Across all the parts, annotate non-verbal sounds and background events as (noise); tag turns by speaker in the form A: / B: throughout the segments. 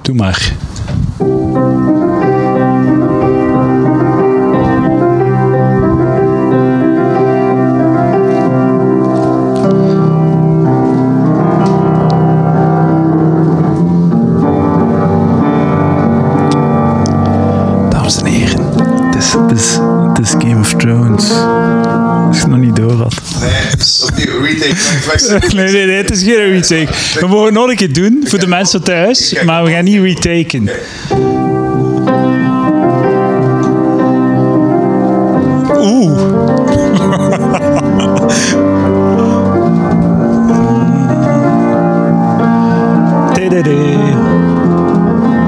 A: Doe maar. Dames en heren, het is, het is, het is Game of Thrones. Als ik het nog niet door had.
B: Nee, het is opnieuw retake.
A: (laughs)
B: flashback.
A: Nee, nee, nee, het is geen retake. We mogen nog een keer doen voor de mensen thuis, maar we gaan niet retaken. Oeh. (laughs) Tididi.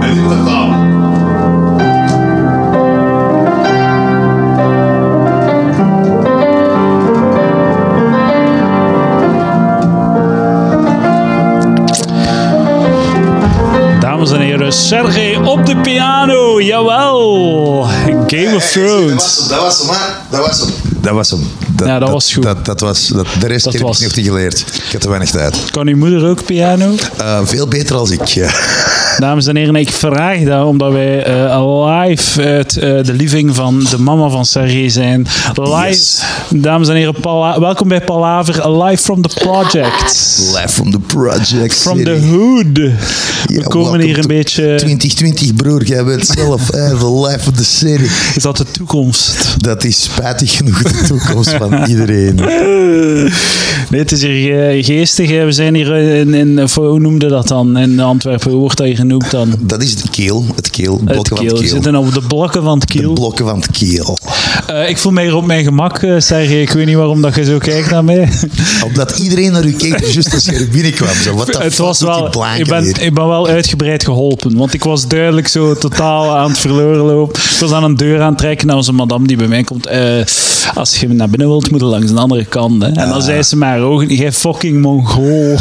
B: Hij doet dat dan.
A: Dames en heren, Sergej op de piano, jawel! Game of
B: Hey, hey, zie, Dat was
A: Thrones.
B: hem, dat was hem, hè. dat was hem. Dat was hem.
A: Ja, dat was goed.
B: Dat, dat was, dat, de rest
A: Dat
B: heb ik
A: was.
B: nog niet geleerd. Ik heb er weinig tijd.
A: Kan uw moeder ook piano?
B: Eh, veel beter als ik. ja.
A: Dames en heren, ik vraag dat omdat wij eh, live uit eh, de living van de mama van Sergej zijn. Live,
B: Yes.
A: dames en heren, Pala- welkom bij Palaver, live from the project.
B: Live from the project.
A: From the
B: serie.
A: hood.
B: Ja,
A: We komen
B: welcome
A: hier een
B: to
A: beetje...
B: 2020, broer, jij bent zelf hè, de life of the serie.
A: Is dat de toekomst?
B: Dat is spijtig genoeg de toekomst van iedereen.
A: Nee, het is hier eh, geestig. hè. We zijn hier eh, in, in voor- hoe noemde dat dan in Antwerpen? Hoe wordt dat hier genoemd dan?
B: Dat is het keel, het keel,
A: Het keel.
B: blokken van
A: We
B: het keel.
A: zitten op de blokken van het
B: De
A: keel.
B: blokken van het keel.
A: Eh, ik voel mij hier op mijn gemak, eh Sergej. Ik weet niet waarom dat je zo kijkt naar mij.
B: Omdat iedereen naar u keek, juist als je er binnenkwam. Zo, wat
A: Het was wel, ik, ben,
B: hier?
A: ik ben wel uitgebreid geholpen, want ik was duidelijk zo totaal aan het verloren lopen. Ik was aan een deur aan het trekken naar onze madame die bij mij komt. Eh, als je naar binnen wilt, moet je langs de andere kant. Hè. En dan
B: Ah.
A: zei ze maar ogen, jij fucking
B: (laughs)
A: mongool.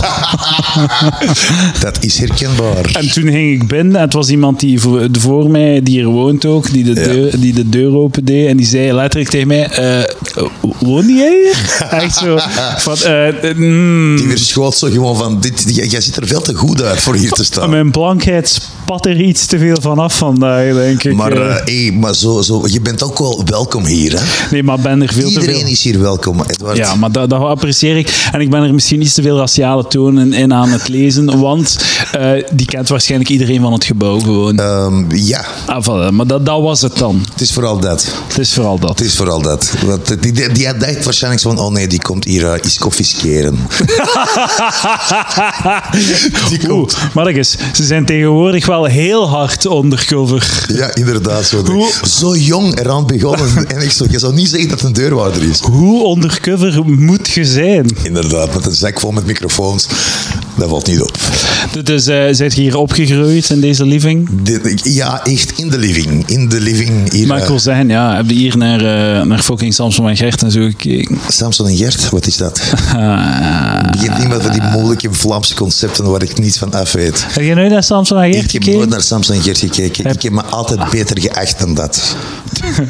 B: Dat is herkenbaar.
A: En toen ging ik binnen en het was iemand die voor, voor mij, die hier woont ook, die de,
B: Ja.
A: deur, die de deur open deed. En die zei letterlijk tegen mij, eh woon jij
B: (laughs)
A: hier? Echt zo. Van, eh, eh, mm.
B: Die verschoot zo gewoon van, dit, jij, jij ziet er veel te goed uit voor hier te staan.
A: Mijn blankheid spat er iets te veel van af vandaag, denk ik.
B: Maar,
A: Eh,
B: eh, hey, maar zo, zo, je bent ook wel welkom hier. Hè?
A: Nee, maar ben er veel te
B: Iedereen
A: veel.
B: is hier welkom, Edward.
A: Ja, maar dat, dat apprecieer ik. En ik ben er misschien iets te veel raciale tonen in aan het lezen, want eh, die kent waarschijnlijk iedereen van het gebouw gewoon.
B: Ehm, ja,
A: Ah, voilà, maar dat, dat was het dan.
B: het is vooral dat.
A: Het is vooral dat.
B: Het is vooral dat. Want die, die, die had dacht waarschijnlijk zo van, oh nee, die komt hier eh, iets
A: (laughs)
B: confisceren. die
A: Oeh,
B: komt.
A: Marcus, ze zijn tegenwoordig wel heel hard undercover.
B: Ja, inderdaad. Zo,
A: Hoe-
B: zo jong eraan
A: (laughs)
B: begonnen. En ik zo, je zou niet zeggen dat het een deurwaarder is.
A: Hoe undercover moet je zijn?
B: Inderdaad, met een zak vol met microfoons. Dat valt niet op.
A: Dus eh zijt je hier opgegroeid in deze living?
B: Dit- ja, echt in de living. In de living hier.
A: Maar ik
B: eh,
A: wil zeggen, ja, heb je hier naar, eh, naar fucking Samson en Gert en zo gekeken?
B: Samson en Gert, wat is
A: (laughs)
B: dat?
A: Ah.
B: Begint iemand van die moeilijke Vlaamse concepten waar ik niets van af weet.
A: Heb je nooit naar Samson en Gert
B: Ik heb nooit
A: gekeken?
B: naar Samson en Gert gekeken. Ik heb me altijd beter geacht dan dat.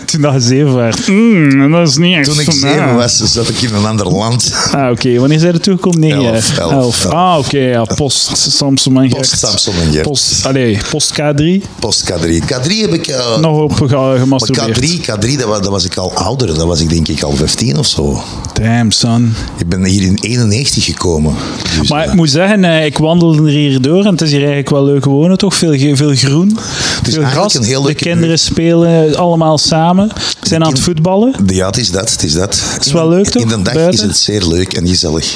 A: Toen dat je zeven werd. Mm, dat is niet echt
B: Toen ik
A: zo
B: zeven
A: na.
B: was, zat ik in een ander
A: (laughs)
B: land.
A: Ah, oké. Wanneer zijn er toegekomen? Nee,
B: Elf, elf, elf.
A: Ah, oké. ja, post Samson en Gert.
B: Post Samson en Gert.
A: Post, allee, post K3.
B: Post K3. K3 heb ik... eh,
A: Nog op ge-
B: maar
A: gemasturbeerd.
B: K3, K3 dat, was, dat was ik al ouder. Dat was ik denk ik al 15 of zo.
A: Damn, son.
B: Ik ben hier in 91 gekomen. Dus,
A: Maar
B: eh,
A: ik moet zeggen, eh, ik wandelde er hier door en het is hier eigenlijk wel leuk wonen, toch? Veel, ge- veel groen, veel
B: eigenlijk
A: gras.
B: een heel
A: de
B: leuke
A: kinderen spelen allemaal samen, zijn aan het
B: kin-
A: voetballen.
B: Ja, het is dat. Het is dat. Het
A: is wel leuk, toch?
B: In de dag
A: Buiten?
B: is het zeer leuk en gezellig.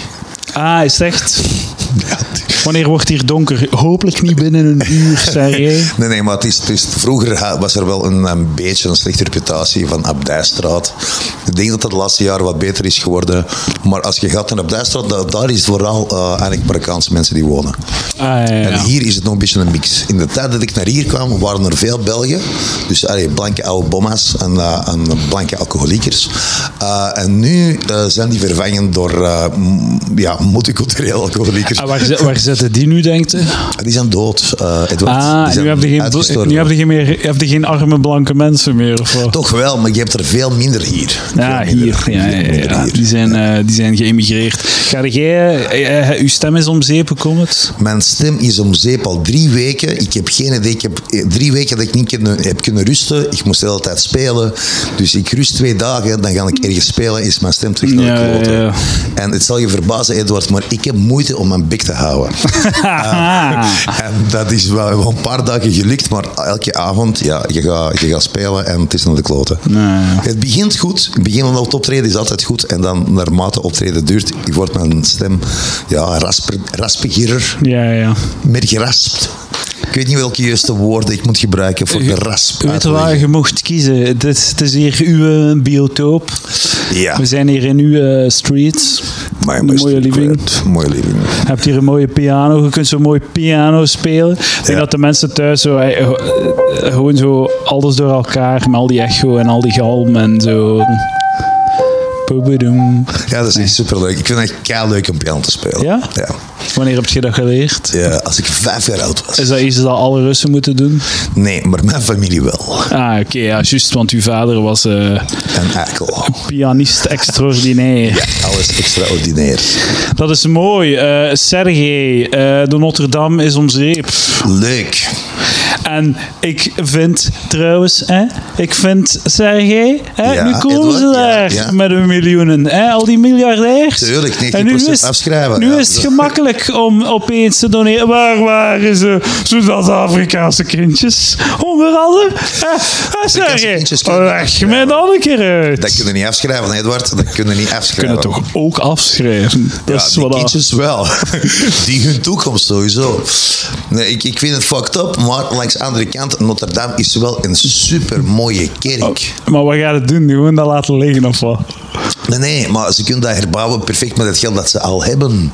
A: Ah, is het echt? Wanneer wordt hier donker? Hopelijk niet binnen een
B: (laughs)
A: uur, serieus.
B: Nee, nee, maar het is, het is- vroeger ha- was er wel een, een beetje een slechte reputatie van Abdijstraat. Ik denk dat dat de laatste jaren wat beter is geworden. Maar als je gaat naar Abdijstraat, da- daar is vooral eh eigenlijk Marokkaanse mensen die wonen.
A: Ah, ja, ja.
B: En hier is het nog een beetje een mix. In de tijd dat ik naar hier kwam, waren er veel Belgen. Dus allee, blanke oude bomma's en, eh, en blanke alcoholiekers. Eh, en nu eh, zijn die vervangen door eh, m- ja, multiculturele alcoholiekers.
A: Ah, waar, zi- waar zitten die nu, denkt je?
B: Die zijn dood, eh, Edward.
A: Ah,
B: Die
A: en
B: zijn
A: nu heb je geen, bl-
B: uitgestorven.
A: nu heb je geen, meer, heb je geen arme blanke mensen meer. Of wat?
B: Toch wel, maar je hebt er veel minder hier.
A: Ja,
B: Veel minder.
A: hier. Ja, ja, ja,
B: Veel minder
A: ja.
B: hier.
A: Die, zijn, eh, die zijn geëmigreerd. Ga jij, eh, eh, uw stem is om zeep, hoe komt het?
B: Mijn stem is om zeep al drie weken. Ik heb geen idee. Ik heb eh, drie weken dat ik niet kunnen- heb kunnen rusten. Ik moest de hele tijd spelen. Dus ik rust twee dagen, dan ga ik ergens spelen. Is mijn stem terug naar
A: Ja,
B: de kloten.
A: ja, ja.
B: En het zal je verbazen, Edward, maar ik heb moeite om mijn bek te
A: (laughs)
B: houden. Eh, en dat is wel wel een paar dagen gelukt, maar elke avond, ja, je gaat, je gaat spelen en het is naar de kloten.
A: Ah.
B: Het begint goed. Het begin van het optreden is altijd goed. En dan, naarmate optreden duurt, wordt mijn stem ja, rasper, raspiger
A: Ja, ja.
B: meer geraspt. Ik weet niet welke juiste woorden ik moet gebruiken voor gerasp.
A: Weet je waar
B: uitleggen.
A: je mocht kiezen? Dit, het is hier uw eh, biotoop.
B: Ja.
A: We zijn hier in uw eh, street.
B: Maar-
A: Een
B: maar-
A: mooie living.
B: kwijt. Mooie living.
A: Je hebt hier een mooie piano. Je kunt zo mooi piano spelen. Ik denk
B: Ja.
A: dat de mensen thuis zo, eh, eh, gewoon zo alles door elkaar met al die echo en al die galm en zo. Boebedoem.
B: Ja, dat is echt superleuk. Ik vind het echt leuk om piano te spelen.
A: Ja?
B: ja?
A: Wanneer heb je dat geleerd?
B: Ja, Als ik vijf jaar oud was.
A: Is dat iets dat alle Russen moeten doen?
B: Nee, maar mijn familie wel.
A: Ah, oké, ja, juist, want uw vader was eh,
B: En eikel.
A: pianist extraordinair.
B: Alles extraordinair.
A: Dat is mooi. Eh Sergej, eh, de Notre-Dame is om zeep.
B: Leuk.
A: En ik vind trouwens, hè, ik vind Sergej, hè,
B: Ja,
A: nu komen ze
B: Edward, ja,
A: daar
B: ja.
A: met hun miljoenen, hè, al die miljardairs.
B: Tuurlijk,
A: En nu
B: 90%
A: is,
B: afschrijven,
A: Nu
B: ja.
A: is het gemakkelijk om opeens te doneren. Waar waren ze, Zuid-Afrikaanse kindjes? Onder andere, hè, hè, Oh, Sergej,
B: kindjes kunnen
A: leg
B: afschrijven.
A: mij dan een keer uit.
B: Dat kunnen niet afschrijven, Edward. Dat kunnen niet afschrijven.
A: kunnen toch ook afschrijven? Dat
B: Ja,
A: is
B: die
A: wat dat-
B: kindjes wel. (laughs) die hun toekomst sowieso. Nee, ik, ik vind het fucked up, maar langs de andere kant, Notre Dame is wel een super mooie kerk.
A: Maar wat gaat het doen? Gewoon dat laten liggen of wat?
B: Nee, nee, maar ze kunnen dat herbouwen perfect met het geld dat ze al hebben.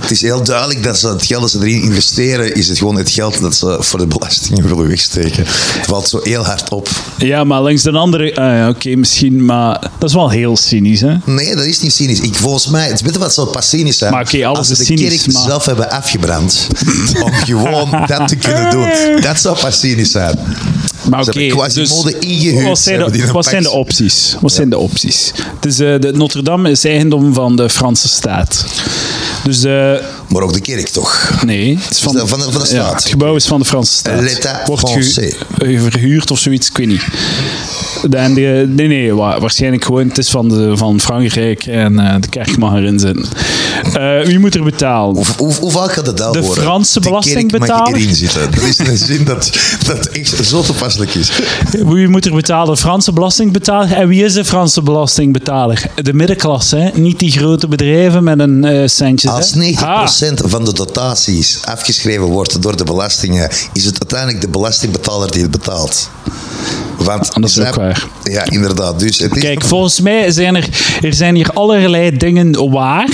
B: Het is heel duidelijk dat ze het geld dat ze erin investeren, is het gewoon het geld dat ze voor de belastingen (laughs) willen wegsteken. Het valt zo heel hard op.
A: Ja, maar langs de andere... ah ja, Oké, misschien, maar dat is wel heel cynisch, hè?
B: Nee, dat is niet cynisch. Ik, volgens mij, het is beter wat zou pas cynisch zijn.
A: Maar oké, alles
B: als ze
A: is
B: de
A: cynisch,
B: kerk
A: maar-
B: zelf hebben afgebrand. om gewoon dat te kunnen doen. Dat zou pas cynisch zijn.
A: Maar
B: Ze
A: oké,
B: hebben Quasimodo
A: dus
B: ingehuurd.
A: Wat
B: Ze
A: zijn
B: hebben
A: de,
B: die een
A: wat
B: pak-
A: zijn de opties? Wat zijn de opties? Dus eh, de Notre-Dame is eigendom van de Franse staat. Dus de...
B: Maar ook de kerk toch?
A: Nee, het is van,
B: dat van de- van de
A: ja,
B: staat?
A: het gebouw is van de Franse staat.
B: L'État
A: Wordt
B: français.
A: eh, verhuurd of zoiets, ik weet niet. De, en de- nee, nee, wa- waarschijnlijk gewoon. Het is van, de, van Frankrijk en eh, de kerk mag erin zitten. Eh, wie moet er betalen?
B: Hoe, hoe, hoe vaak gaat het daar
A: De
B: horen?
A: Franse
B: De kerk mag
A: belastingbetaler?
B: erin zitten. Dat is een zin dat, dat echt zo toepasselijk is.
A: Wie moet er betalen? Franse belastingbetaler. En wie is de Franse belastingbetaler? De middenklasse, hè? niet die grote bedrijven met een eh centje. hè?
B: Als 90% van de dotaties afgeschreven wordt door de belastingen, is het uiteindelijk de belastingbetaler die het betaalt. Want,
A: Ah, dat is ook
B: Snap-
A: waar.
B: Ja, inderdaad. Dus het is
A: Kijk, volgens mij zijn er, er zijn hier allerlei dingen waar,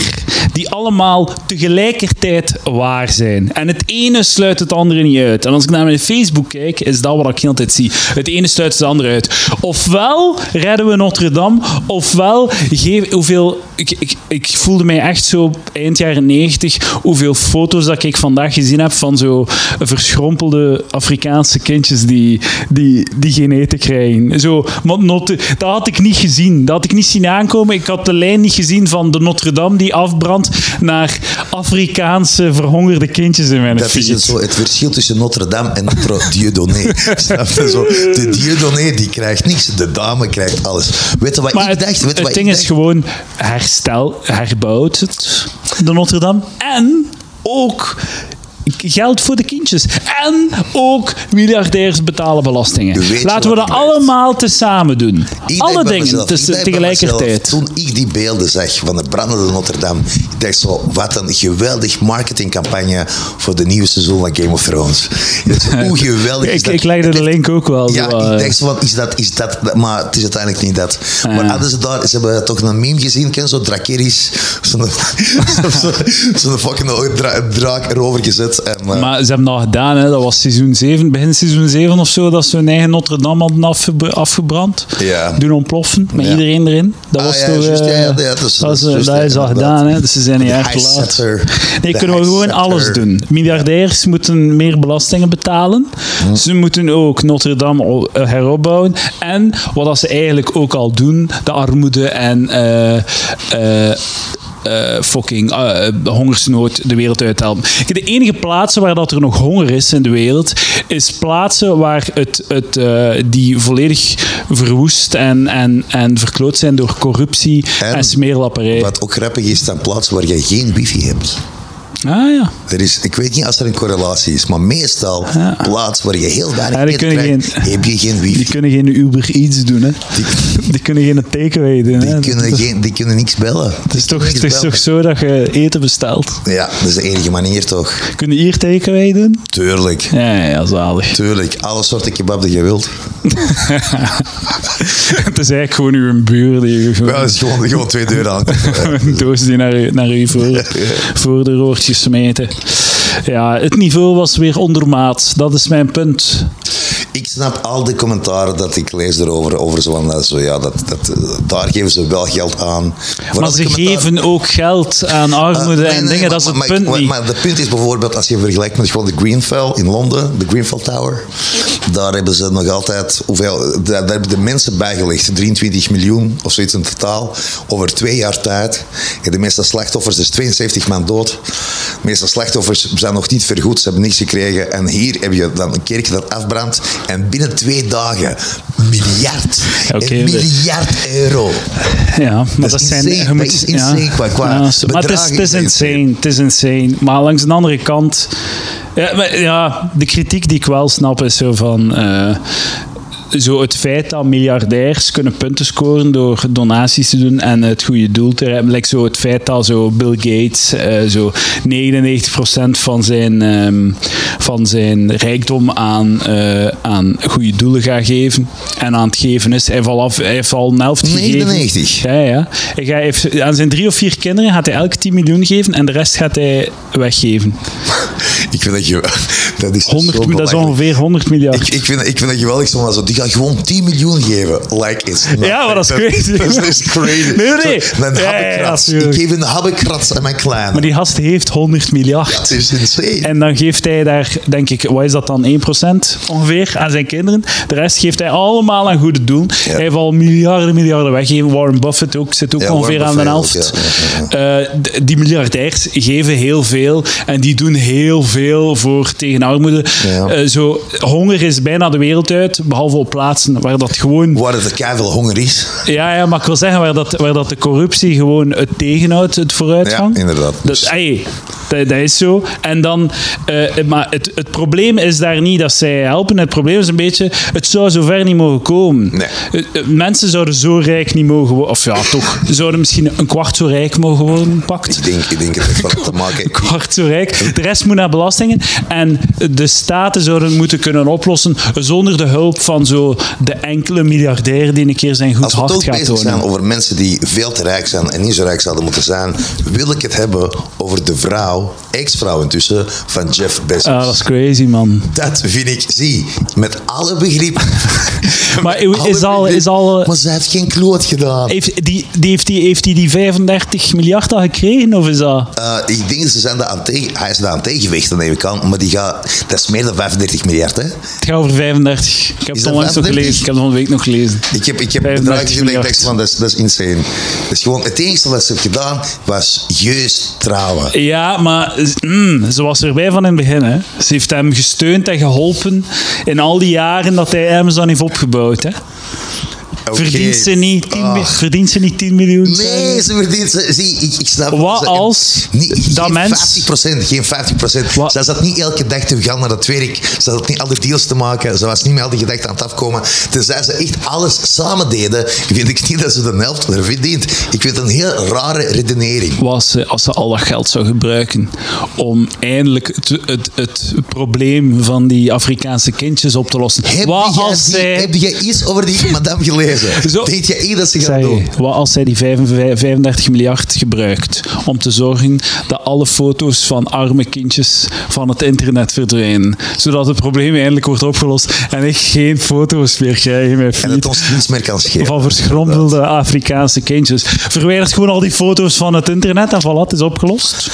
A: die allemaal tegelijkertijd waar zijn. En het ene sluit het andere niet uit. En als ik naar mijn Facebook kijk, is dat wat ik heel de tijd zie. Het ene sluit het andere uit. Ofwel redden we Notre-Dame, ofwel geef hoeveel... Ik, ik, ik voelde mij echt zo eind jaren 90, hoeveel foto's dat ik vandaag gezien heb van zo verschrompelde Afrikaanse kindjes die, die, die geen eten krijgen. Zo, want Notre- dat had ik niet gezien. Dat had ik niet zien aankomen. Ik had de lijn niet gezien van de Notre-Dame die afbrandt naar Afrikaanse verhongerde kindjes in mijn
B: Dat is het,
A: feed.
B: zo, het verschil tussen Notre-Dame en Notre
A: (laughs)
B: Dieudonné. (laughs) Snap je zo? De Dieudonné die krijgt niks, de dame krijgt alles. Weet je wat
A: Maar
B: ik
A: het,
B: dacht? Weet je
A: het
B: wat
A: ding
B: ik
A: is
B: dacht?
A: gewoon, herstel, herbouwt het, de Notre-Dame. En ook geld voor de kindjes. En ook miljardairs betalen belastingen.
B: U weet
A: Laten we
B: wat
A: dat
B: ik weet.
A: allemaal tezamen doen.
B: Ik dacht
A: Alle
B: bij
A: dingen
B: mezelf,
A: tes-
B: ik dacht bij
A: tegelijkertijd.
B: mezelf, toen ik die beelden zag van de brandende Notre-Dame, ik dacht zo, wat een geweldig marketingcampagne voor de nieuwe seizoen van Game of Thrones. Ik
A: (laughs)
B: dacht zo, Hoe geweldig is
A: Ik,
B: dat?
A: ik legde de link ook wel.
B: Ja,
A: zo, eh, Ah.
B: ik denk zo van, is dat, is dat, dat- maar het is uiteindelijk niet dat. Maar
A: ja.
B: hadden ze daar, ze hebben toch een meme gezien, ken je, zo Drakeris,
A: (laughs)
B: zo'n zo, zo, zo'n fucking dra- draak erover gezet. En, eh,
A: Maar ze hebben dat gedaan, hè. dat was seizoen 7, begin seizoen 7 of zo, dat ze hun eigen Notre-Dame hadden afgebra- afgebrand.
B: Ja.
A: doen ontploffen met
B: Ja.
A: iedereen erin. Dat
B: Ah,
A: was
B: ja,
A: toch...
B: juist,
A: eh,
B: ja, ja, dat is-
A: dat is,
B: juist,
A: dat
B: ja,
A: is al
B: inderdaad.
A: gedaan, hè. Dus ze zijn een
B: De
A: jaar
B: high
A: te laat.
B: setter.
A: Nee,
B: De
A: kunnen we
B: high
A: gewoon
B: setter.
A: alles doen. Miljardairs moeten meer belastingen betalen. Ze moeten ook Notre Dame o- eh, heropbouwen. En wat dat ze eigenlijk ook al doen, de armoede en eh, eh, eh, fucking eh, eh, hongersnood de wereld uithelpen. Kijk, De enige plaatsen waar dat er nog honger is in de wereld, is plaatsen waar het, het, eh, die volledig verwoest en, en, en verkloot zijn door corruptie en,
B: En
A: smeerlapperij.
B: Wat ook grappig is, dan plaatsen waar je geen wifi hebt.
A: Ah ja.
B: Er is, ik weet niet als er een correlatie is, maar meestal plaats waar je heel weinig
A: Ja, die
B: net
A: kunnen
B: krijgt,
A: geen-
B: heb je geen wifi.
A: Die kunnen geen Uber iets doen, hè?
B: Die,
A: Die kunnen geen takeaway doen.
B: die
A: Hè?
B: kunnen,
A: het, is,
B: geen, die kunnen niks bellen.
A: het is toch, het is
B: Niks
A: toch zo dat je eten bestelt?
B: bellen. Ja, dat is de enige manier toch.
A: Kunnen hier takeaway doen?
B: Tuurlijk.
A: Ja, ja, (laughs) ja, zalig.
B: Tuurlijk. Alle soorten kebab die je wilt.
A: het is eigenlijk gewoon uw buur die je
B: Ja, dat is (laughs) gewoon, gewoon twee deuren aan.
A: (laughs) een doos die naar u, naar
B: (laughs)
A: u voor, voor de roortjes smeten. Ja, het niveau was weer ondermaat. Dat is mijn punt.
B: Ik snap al de commentaren dat ik lees erover. Over zo, van, eh, zo, ja, dat, dat, eh, daar geven ze wel geld aan. Vooral
A: Maar
B: de
A: ze
B: commentaar-
A: geven ook geld aan armoede
B: Ah, Eh, Nee,
A: en
B: nee,
A: dingen.
B: maar-
A: dat is het
B: maar-
A: punt
B: maar,
A: niet.
B: Maar het punt is bijvoorbeeld, als je vergelijkt met gewoon de Greenfell in Londen, de Greenfell Tower, daar hebben ze nog altijd, hoeveel, daar, daar hebben de mensen bijgelegd, 23 miljoen of zoiets in totaal, over twee jaar tijd. En de meeste slachtoffers, is 72 man dood. De meeste slachtoffers zijn nog niet vergoed, ze hebben niks gekregen. En hier heb je dan een kerk dat afbrandt en binnen twee dagen miljard,
A: Oké, dus-
B: een
A: we-
B: miljard euro.
A: Ja, maar dat,
B: is
A: zijn...
B: insane.
A: je
B: Dat is insane qua-
A: dat
B: qua
A: maar het is,
B: bedragen
A: het is
B: is
A: insane. Het is insane. Maar langs de andere kant... Ja, maar ja, de kritiek die ik wel snap is zo van... eh, zo het feit dat miljardairs kunnen punten scoren door donaties te doen en het goede doel te hebben. Like zo het feit dat zo Bill Gates eh, zo 99% van zijn, ehm, van zijn rijkdom aan, eh, aan goede doelen gaat geven. En aan het geven is, hij heeft al, af, hij heeft al een helft gegeven.
B: 99.
A: Ja, ja. Hij gaat- heeft, aan zijn drie of vier kinderen gaat hij elk 10 miljoen geven en de rest gaat hij weggeven.
B: Ik vind dat je... Dat
A: 100,
B: is, zo
A: dat is
B: belachelijk.
A: ongeveer 100 miljard.
B: Ik, ik, vind, ik vind dat geweldig, zomaar zo. Die gaat gewoon 10 miljoen geven. Like it's nothing.
A: Ja, maar dat is crazy.
B: (laughs) Dat, dat is crazy.
A: Nee, nee.
B: Zo, Een
A: Ja, ja,
B: habbekrat.
A: natuurlijk.
B: ik geef een habbekrat aan mijn kleine.
A: maar die gast heeft 100 miljard.
B: dat is insane.
A: En dan geeft hij daar, denk ik, wat is dat dan, 1% ongeveer aan zijn kinderen. De rest geeft hij allemaal aan goede doel. Hij heeft al miljarden, miljarden weggegeven. Warren Buffett ook, zit ook
B: Ja,
A: ongeveer
B: Warren
A: aan de
B: Buffett
A: helft.
B: ook,
A: Eh, d- die miljardairs geven heel veel en die doen heel veel voor tegen armoede.
B: Ja.
A: Eh, zo, honger is bijna de wereld uit, behalve op plaatsen waar dat gewoon
B: Waar het keiveel honger is.
A: ja, ja, maar ik wil zeggen, waar dat, waar dat de corruptie gewoon het tegenhoudt, het vooruitgang.
B: Ja, inderdaad. Dus
A: Dat, ey, Dus, dat, dat is zo. En dan, eh, maar het, het probleem is daar niet dat zij helpen. Het probleem is een beetje, het zou zover niet mogen komen.
B: Nee.
A: Eh, eh, Mensen zouden zo rijk niet mogen worden. Of ja, toch. Zouden misschien een kwart zo rijk mogen worden, pakt
B: Ik denk, ik denk het heeft wat te
A: (laughs)
B: maken...
A: kwart zo rijk. De rest moet naar belastingen. En de staten zouden moeten kunnen oplossen zonder de hulp van zo de enkele miljardair die een keer zijn goed
B: Als we
A: hart
B: toch
A: gaat
B: bezig zijn
A: tonen.
B: over mensen die veel te rijk zijn en niet zo rijk zouden moeten zijn, wil ik het hebben over de vrouw, ex-vrouw intussen, van Jeff Bezos.
A: Ah, dat is crazy, man.
B: Dat vind ik, zie, met alle begrip.
A: (laughs) Maar
B: Met alle
A: is al-
B: begrip.
A: is al- eh,
B: Maar ze heeft geen kloot gedaan.
A: Heeft die, die, heeft, die, heeft die die 35 miljard al gekregen, of is dat...
B: Eh, ik denk dat ze zijn daar aan tegen, hij is daar aan tegengewicht aan de ene kant, maar die gaat, dat is meer dan 35 miljard. Hè?
A: Het gaat over 35. Ik heb
B: Is
A: het
B: dat
A: onlangs nog
B: 35?
A: gelezen. Ik heb het van de week nog gelezen.
B: Ik heb, ik
A: 35
B: heb bedragen gezien dat ik
A: miljard.
B: dacht van, dat is, dat is insane. Dat is gewoon, het enige wat ze heeft gedaan was juist trouwen.
A: Ja, maar mm, ze was erbij van in het begin. Hè. Ze heeft hem gesteund en geholpen in al die jaren dat hij Amazon heeft opgebouwd. Hè.
B: Oké.
A: Verdient, ze niet 10, mi-
B: Ah.
A: verdient ze niet 10 miljoen?
B: Nee, ze verdient ze. Zie, ik, ik snap
A: Wat
B: ze-
A: als
B: Niet,
A: dat
B: geen
A: mens-
B: 50%, geen 50%.
A: Wat-
B: Ze zat niet elke dag te gaan naar dat werk. Ze had niet alle deals te maken. Ze was niet met al die gedachten aan het afkomen. Tenzij ze echt alles samen deden, vind ik niet dat ze de helft er verdient. Ik vind het een heel rare redenering.
A: Was ze, als ze al dat geld zou gebruiken om eindelijk het, het, het probleem van die Afrikaanse kindjes op te lossen.
B: Heb
A: Wat
B: jij,
A: als
B: die-
A: zij...
B: heb jij iets over die madame gelezen? lezen.
A: Zo-
B: Weet je niet dat ze gaan
A: Zij,
B: doen?
A: wat als zij die 55 35 miljard gebruikt om te zorgen dat alle foto's van arme kindjes van het internet verdwijnen, zodat het probleem eindelijk wordt opgelost en ik geen foto's meer krijg in mijn
B: En dat
A: feed
B: ons niets meer kan schelen.
A: van verschrompelde Afrikaanse kindjes. Verwijdert gewoon al die foto's van het internet en voilà, het is opgelost.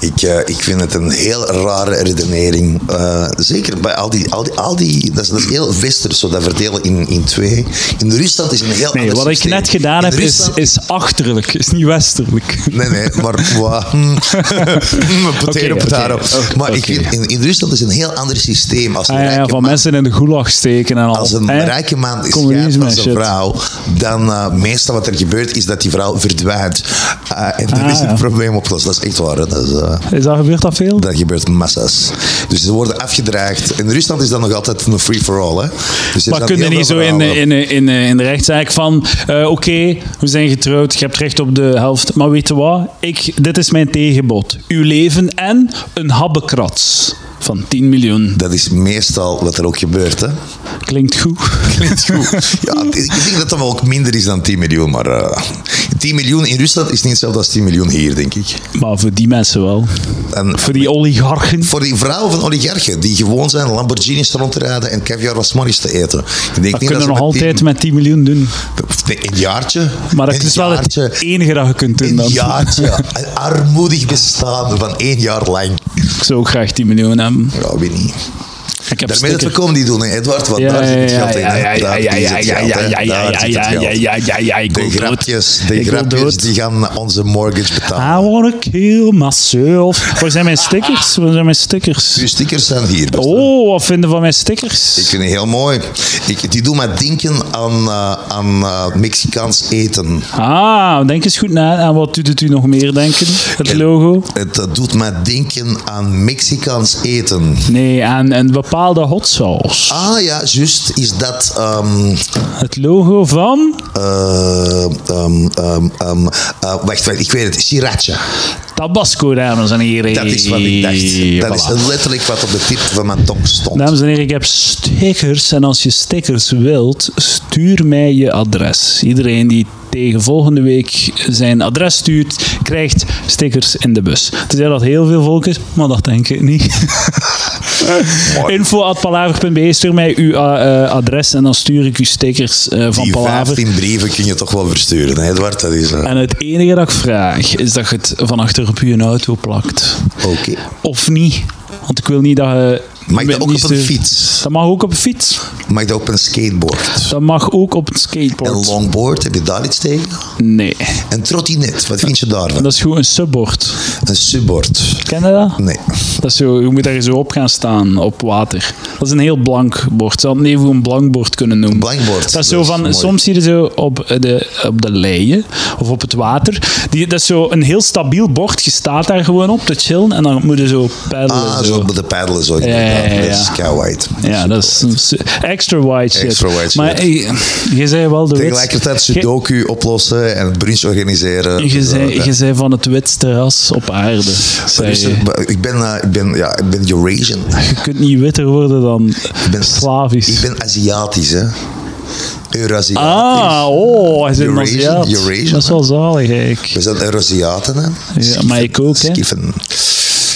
B: Ik, eh, ik vind het een heel rare redenering. Eh, zeker bij al die... Al die, al die dat, is, dat is heel westers, zo dat verdelen in, in twee. In Rusland is een heel
A: Nee,
B: ander
A: wat ik
B: systeem.
A: net gedaan
B: In
A: heb is,
B: Rusland-
A: is achterlijk, is niet westerlijk.
B: Nee, nee,
A: (laughs)
B: maar... wa- (laughs) hmm, potato,
A: Oké,
B: potato.
A: oké, oké,
B: maar ik
A: oké.
B: vind, in, in Rusland is een heel ander systeem. Als een
A: Ah, ja,
B: rijke
A: van
B: man-
A: mensen in de gulag steken en al.
B: als een
A: hè?
B: rijke man is
A: Communisme
B: scheidt van
A: en
B: zijn
A: shit.
B: vrouw, dan eh, meestal wat er gebeurt is dat die vrouw verdwijnt. Eh, en dan
A: Ah,
B: is het
A: ja.
B: probleem opgelost. Dat is echt waar. hè. Dat, is, eh,
A: Is dat gebeurd dat veel?
B: dat gebeurt massa's. Dus ze worden afgedraagd. In Rusland is dat nog altijd een free-for-all. hè. Dus er
A: Maar
B: zijn
A: kun je
B: heel
A: niet
B: veel
A: zo in,
B: verhalen.
A: in, in, in de rechtszaak van, eh, oké, we zijn getrouwd, je hebt recht op de helft, maar weet je wat? Ik, dit is mijn tegenbod. Uw leven en een habbekrats van 10 miljoen.
B: Dat is meestal wat er ook gebeurt. Hè?
A: Klinkt goed.
B: Klinkt goed. (laughs) Ja, ik denk dat dat wel ook minder is dan 10 miljoen. Maar eh, 10 miljoen in Rusland is niet hetzelfde als 10 miljoen hier, denk ik.
A: Maar voor die mensen wel.
B: En
A: Voor die oligarchen.
B: voor die vrouwen van oligarchen die gewoon zijn Lamborghinis rond te rijden en caviar was morgens te eten. Ik denk
A: Dat
B: niet
A: kunnen we
B: ze
A: nog
B: met
A: altijd
B: die-
A: met 10 miljoen doen.
B: Nee, Een jaartje.
A: Maar dat
B: een
A: is wel
B: jaartje,
A: het enige dat je kunt doen. (laughs)
B: Een
A: Dan.
B: jaartje. Een armoedig bestaan van één jaar lang.
A: Ik zou ook graag 10 miljoen hebben.
B: Ja, weet niet.
A: Ik heb
B: Daarmee dat we
A: sticker.
B: comedy doen, hè, Edward? Want
A: Ja,
B: daar zit het
A: ja,
B: geld in.
A: ja,
B: hè.
A: ja, ja,
B: Daar
A: ja,
B: is
A: ja,
B: het
A: ja,
B: geld,
A: ja,
B: hè.
A: ja, ja,
B: Daar zit
A: ja,
B: het geld.
A: ja, ja, ja, ja, ik
B: De
A: wil dood.
B: grapjes, de
A: Ik wil
B: grapjes
A: dood.
B: die gaan onze mortgage betalen.
A: I wanna kill myself. Waar zijn mijn stickers? Waar zijn mijn stickers?
B: Uw stickers zijn hier. beste.
A: Oh, wat vinden van mijn stickers?
B: Ik vind die heel mooi. Ik, die doen mij denken aan, eh, aan eh, Mexicaans eten.
A: Ah, denk eens goed na. Aan wat doet het u nog meer denken? Het logo?
B: Het eh, doet mij denken aan Mexicaans eten.
A: Nee, aan een bepaalde hot sauce.
B: Ah ja, juist. Is dat ehm,
A: Het logo van
B: Eh, ehm, ehm, ehm, eh, wacht, wacht, ik weet het. Sriracha.
A: Tabasco, dames en heren.
B: Dat is wat ik dacht. Dat
A: Voilà.
B: is letterlijk wat op de tip van mijn tong stond.
A: Dames en heren, ik heb stickers. En als je stickers wilt, stuur mij je adres. Iedereen die tegen volgende week zijn adres stuurt, krijgt stickers in de bus. Tenzij dat heel veel volk is, maar dat denk ik
B: (laughs)
A: niet. Info.palaver.be, stuur mij uw eh, eh, adres en dan stuur ik u stickers eh, van
B: Die
A: Palaver.
B: 15 brieven kun je toch wel versturen, hè, Edward? Dat is... eh,
A: En het enige dat ik vraag, is dat je het van achter op je auto plakt.
B: Oké.
A: Of niet. Want ik wil niet dat je...
B: Mag dat ook
A: niet
B: op een
A: stuurt.
B: fiets?
A: Dat mag ook op een fiets.
B: Mag dat op een skateboard?
A: Dat mag ook op het
B: Een
A: skateboard.
B: longboard, heb je daar iets tegen?
A: Nee.
B: Een trottinet, wat vind je daarvan?
A: Dat is gewoon een subboard.
B: Een subboard?
A: Ken je dat?
B: Nee.
A: dat is zo, je moet daar zo op gaan staan, op water. Dat is een heel blank bord. Ze hadden het even een blank bord kunnen noemen.
B: Blankboard.
A: Dat is zo van,
B: mooi.
A: soms zie je zo op de, op de leien of op het water. Die, dat is zo een heel stabiel bord. Je staat daar gewoon op te chillen en dan moet je zo peddelen.
B: Ah,
A: zo.
B: zo met de paddelen, zo.
A: ja, ja.
B: inderdaad. Dat is kei-white.
A: Ja, dat is een su- extra wide shit.
B: Extra wide shit.
A: maar eh, je zei wel de wits-
B: Tegelijkertijd
A: Je-
B: sudoku oplossen en brunch organiseren.
A: Je
B: Dus,
A: zei,
B: eh,
A: je zei van het witste ras op aarde. zei
B: Dus,
A: je.
B: eh, maar ik ben, eh, ik ben, ja, ik ben Eurasian.
A: Je kunt niet witter worden dan
B: Ik ben, Ik
A: Slavisch.
B: ben Aziatisch, hè. Eurasiatisch.
A: Ah, oh, hij zit een
B: Eurasian,
A: Aziat.
B: Eurasian,
A: Dat is wel zalig eigenlijk.
B: We zijn Eurasiaten, hè.
A: Ja, maar ik ook, hè.
B: Skiffen.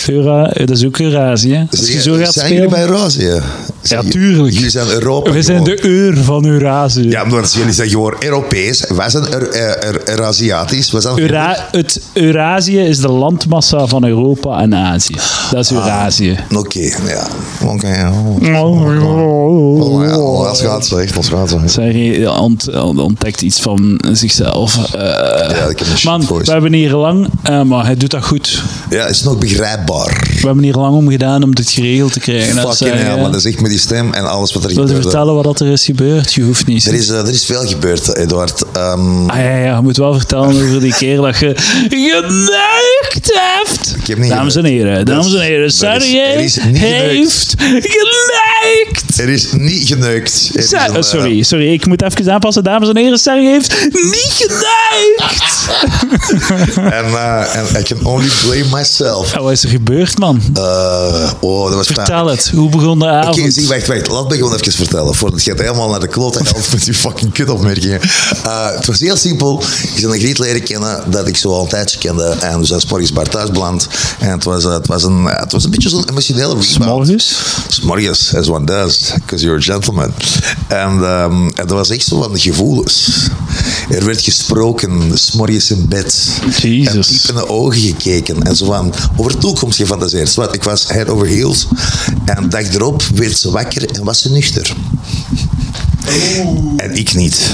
A: Eura, dat is ook Eurasie, hè. Als je zo gaat
B: zijn jullie bij
A: spelen...
B: Eurasië? Zijn-
A: tuurlijk.
B: Jullie zijn Europa.
A: We zijn
B: gewoon.
A: de eur van Eurasie.
B: Ja, maar jullie zijn gewoon Europees. Wij zijn er, er, er, Eurasiatisch. Wij zijn...
A: Eura- het Eurasie is de landmassa van Europa en Azië. Dat
B: Ah.
A: is Eurasie.
B: Oké, ja. Oké,
A: Oh,
B: ja. Oh, ja. Oh, dat gaat zo, echt. Dat gaat zo.
A: Zij ont, ontdekt iets van zichzelf. Eh,
B: Ja, ik heb een shit
A: man,
B: voice.
A: we hebben hier lang, eh, maar hij doet dat goed.
B: Ja, is nog begrijpbaar.
A: We hebben hier lang om gedaan om dit geregeld te krijgen. Dat
B: Fucking
A: zei,
B: hell,
A: eh,
B: maar dat is echt met die stem en alles wat er
A: Wil je
B: gebeurt.
A: vertellen wat dat er is gebeurd? Je hoeft niet.
B: Er is, eh, er is veel gebeurd, Eduard. Ehm,
A: Ah ja, ja, je moet wel vertellen over die keer dat je geneukt hebt.
B: Ik heb niet
A: dames en
B: geneukt.
A: heren,
B: Dat is-
A: dames en heren,
B: dat is- er
A: Sergej
B: is niet geneukt.
A: heeft geneukt.
B: er is niet geneukt. is. er is
A: Sa-
B: een,
A: eh,
B: eh,
A: sorry, sorry, ik moet even aanpassen, dames en heren. Serge heeft niet
B: Ah.
A: geneigd!
B: En eh, en I can only blame myself.
A: Ah, wat is er gebeurd, man?
B: Eh, oh, dat was
A: Vertel het. Hoe begon de avond?
B: Oké, zie, wacht, wacht. Laat me gewoon even vertellen. Voordat het gaat helemaal naar de klote helft met die fucking kutopmerkingen. Eh, het was heel simpel. Ik ben een griet leren kennen dat ik zo al een tijdje kende. En dus als morgens bar thuis beland. En het was, eh, het was, een, eh, het was een beetje zo'n emotionele rebound.
A: Morgens?
B: Smorgens, as one does, because you're a gentleman. En ehm, en dat was echt zo van de gevoelens. Er werd gesproken, smorgens in bed.
A: Jezus.
B: En diep in de ogen gekeken. En zo van, over toekomst gefantaseerd. Zwart, ik was head over heels. En dag erop werd ze wakker en was ze nuchter. En ik niet.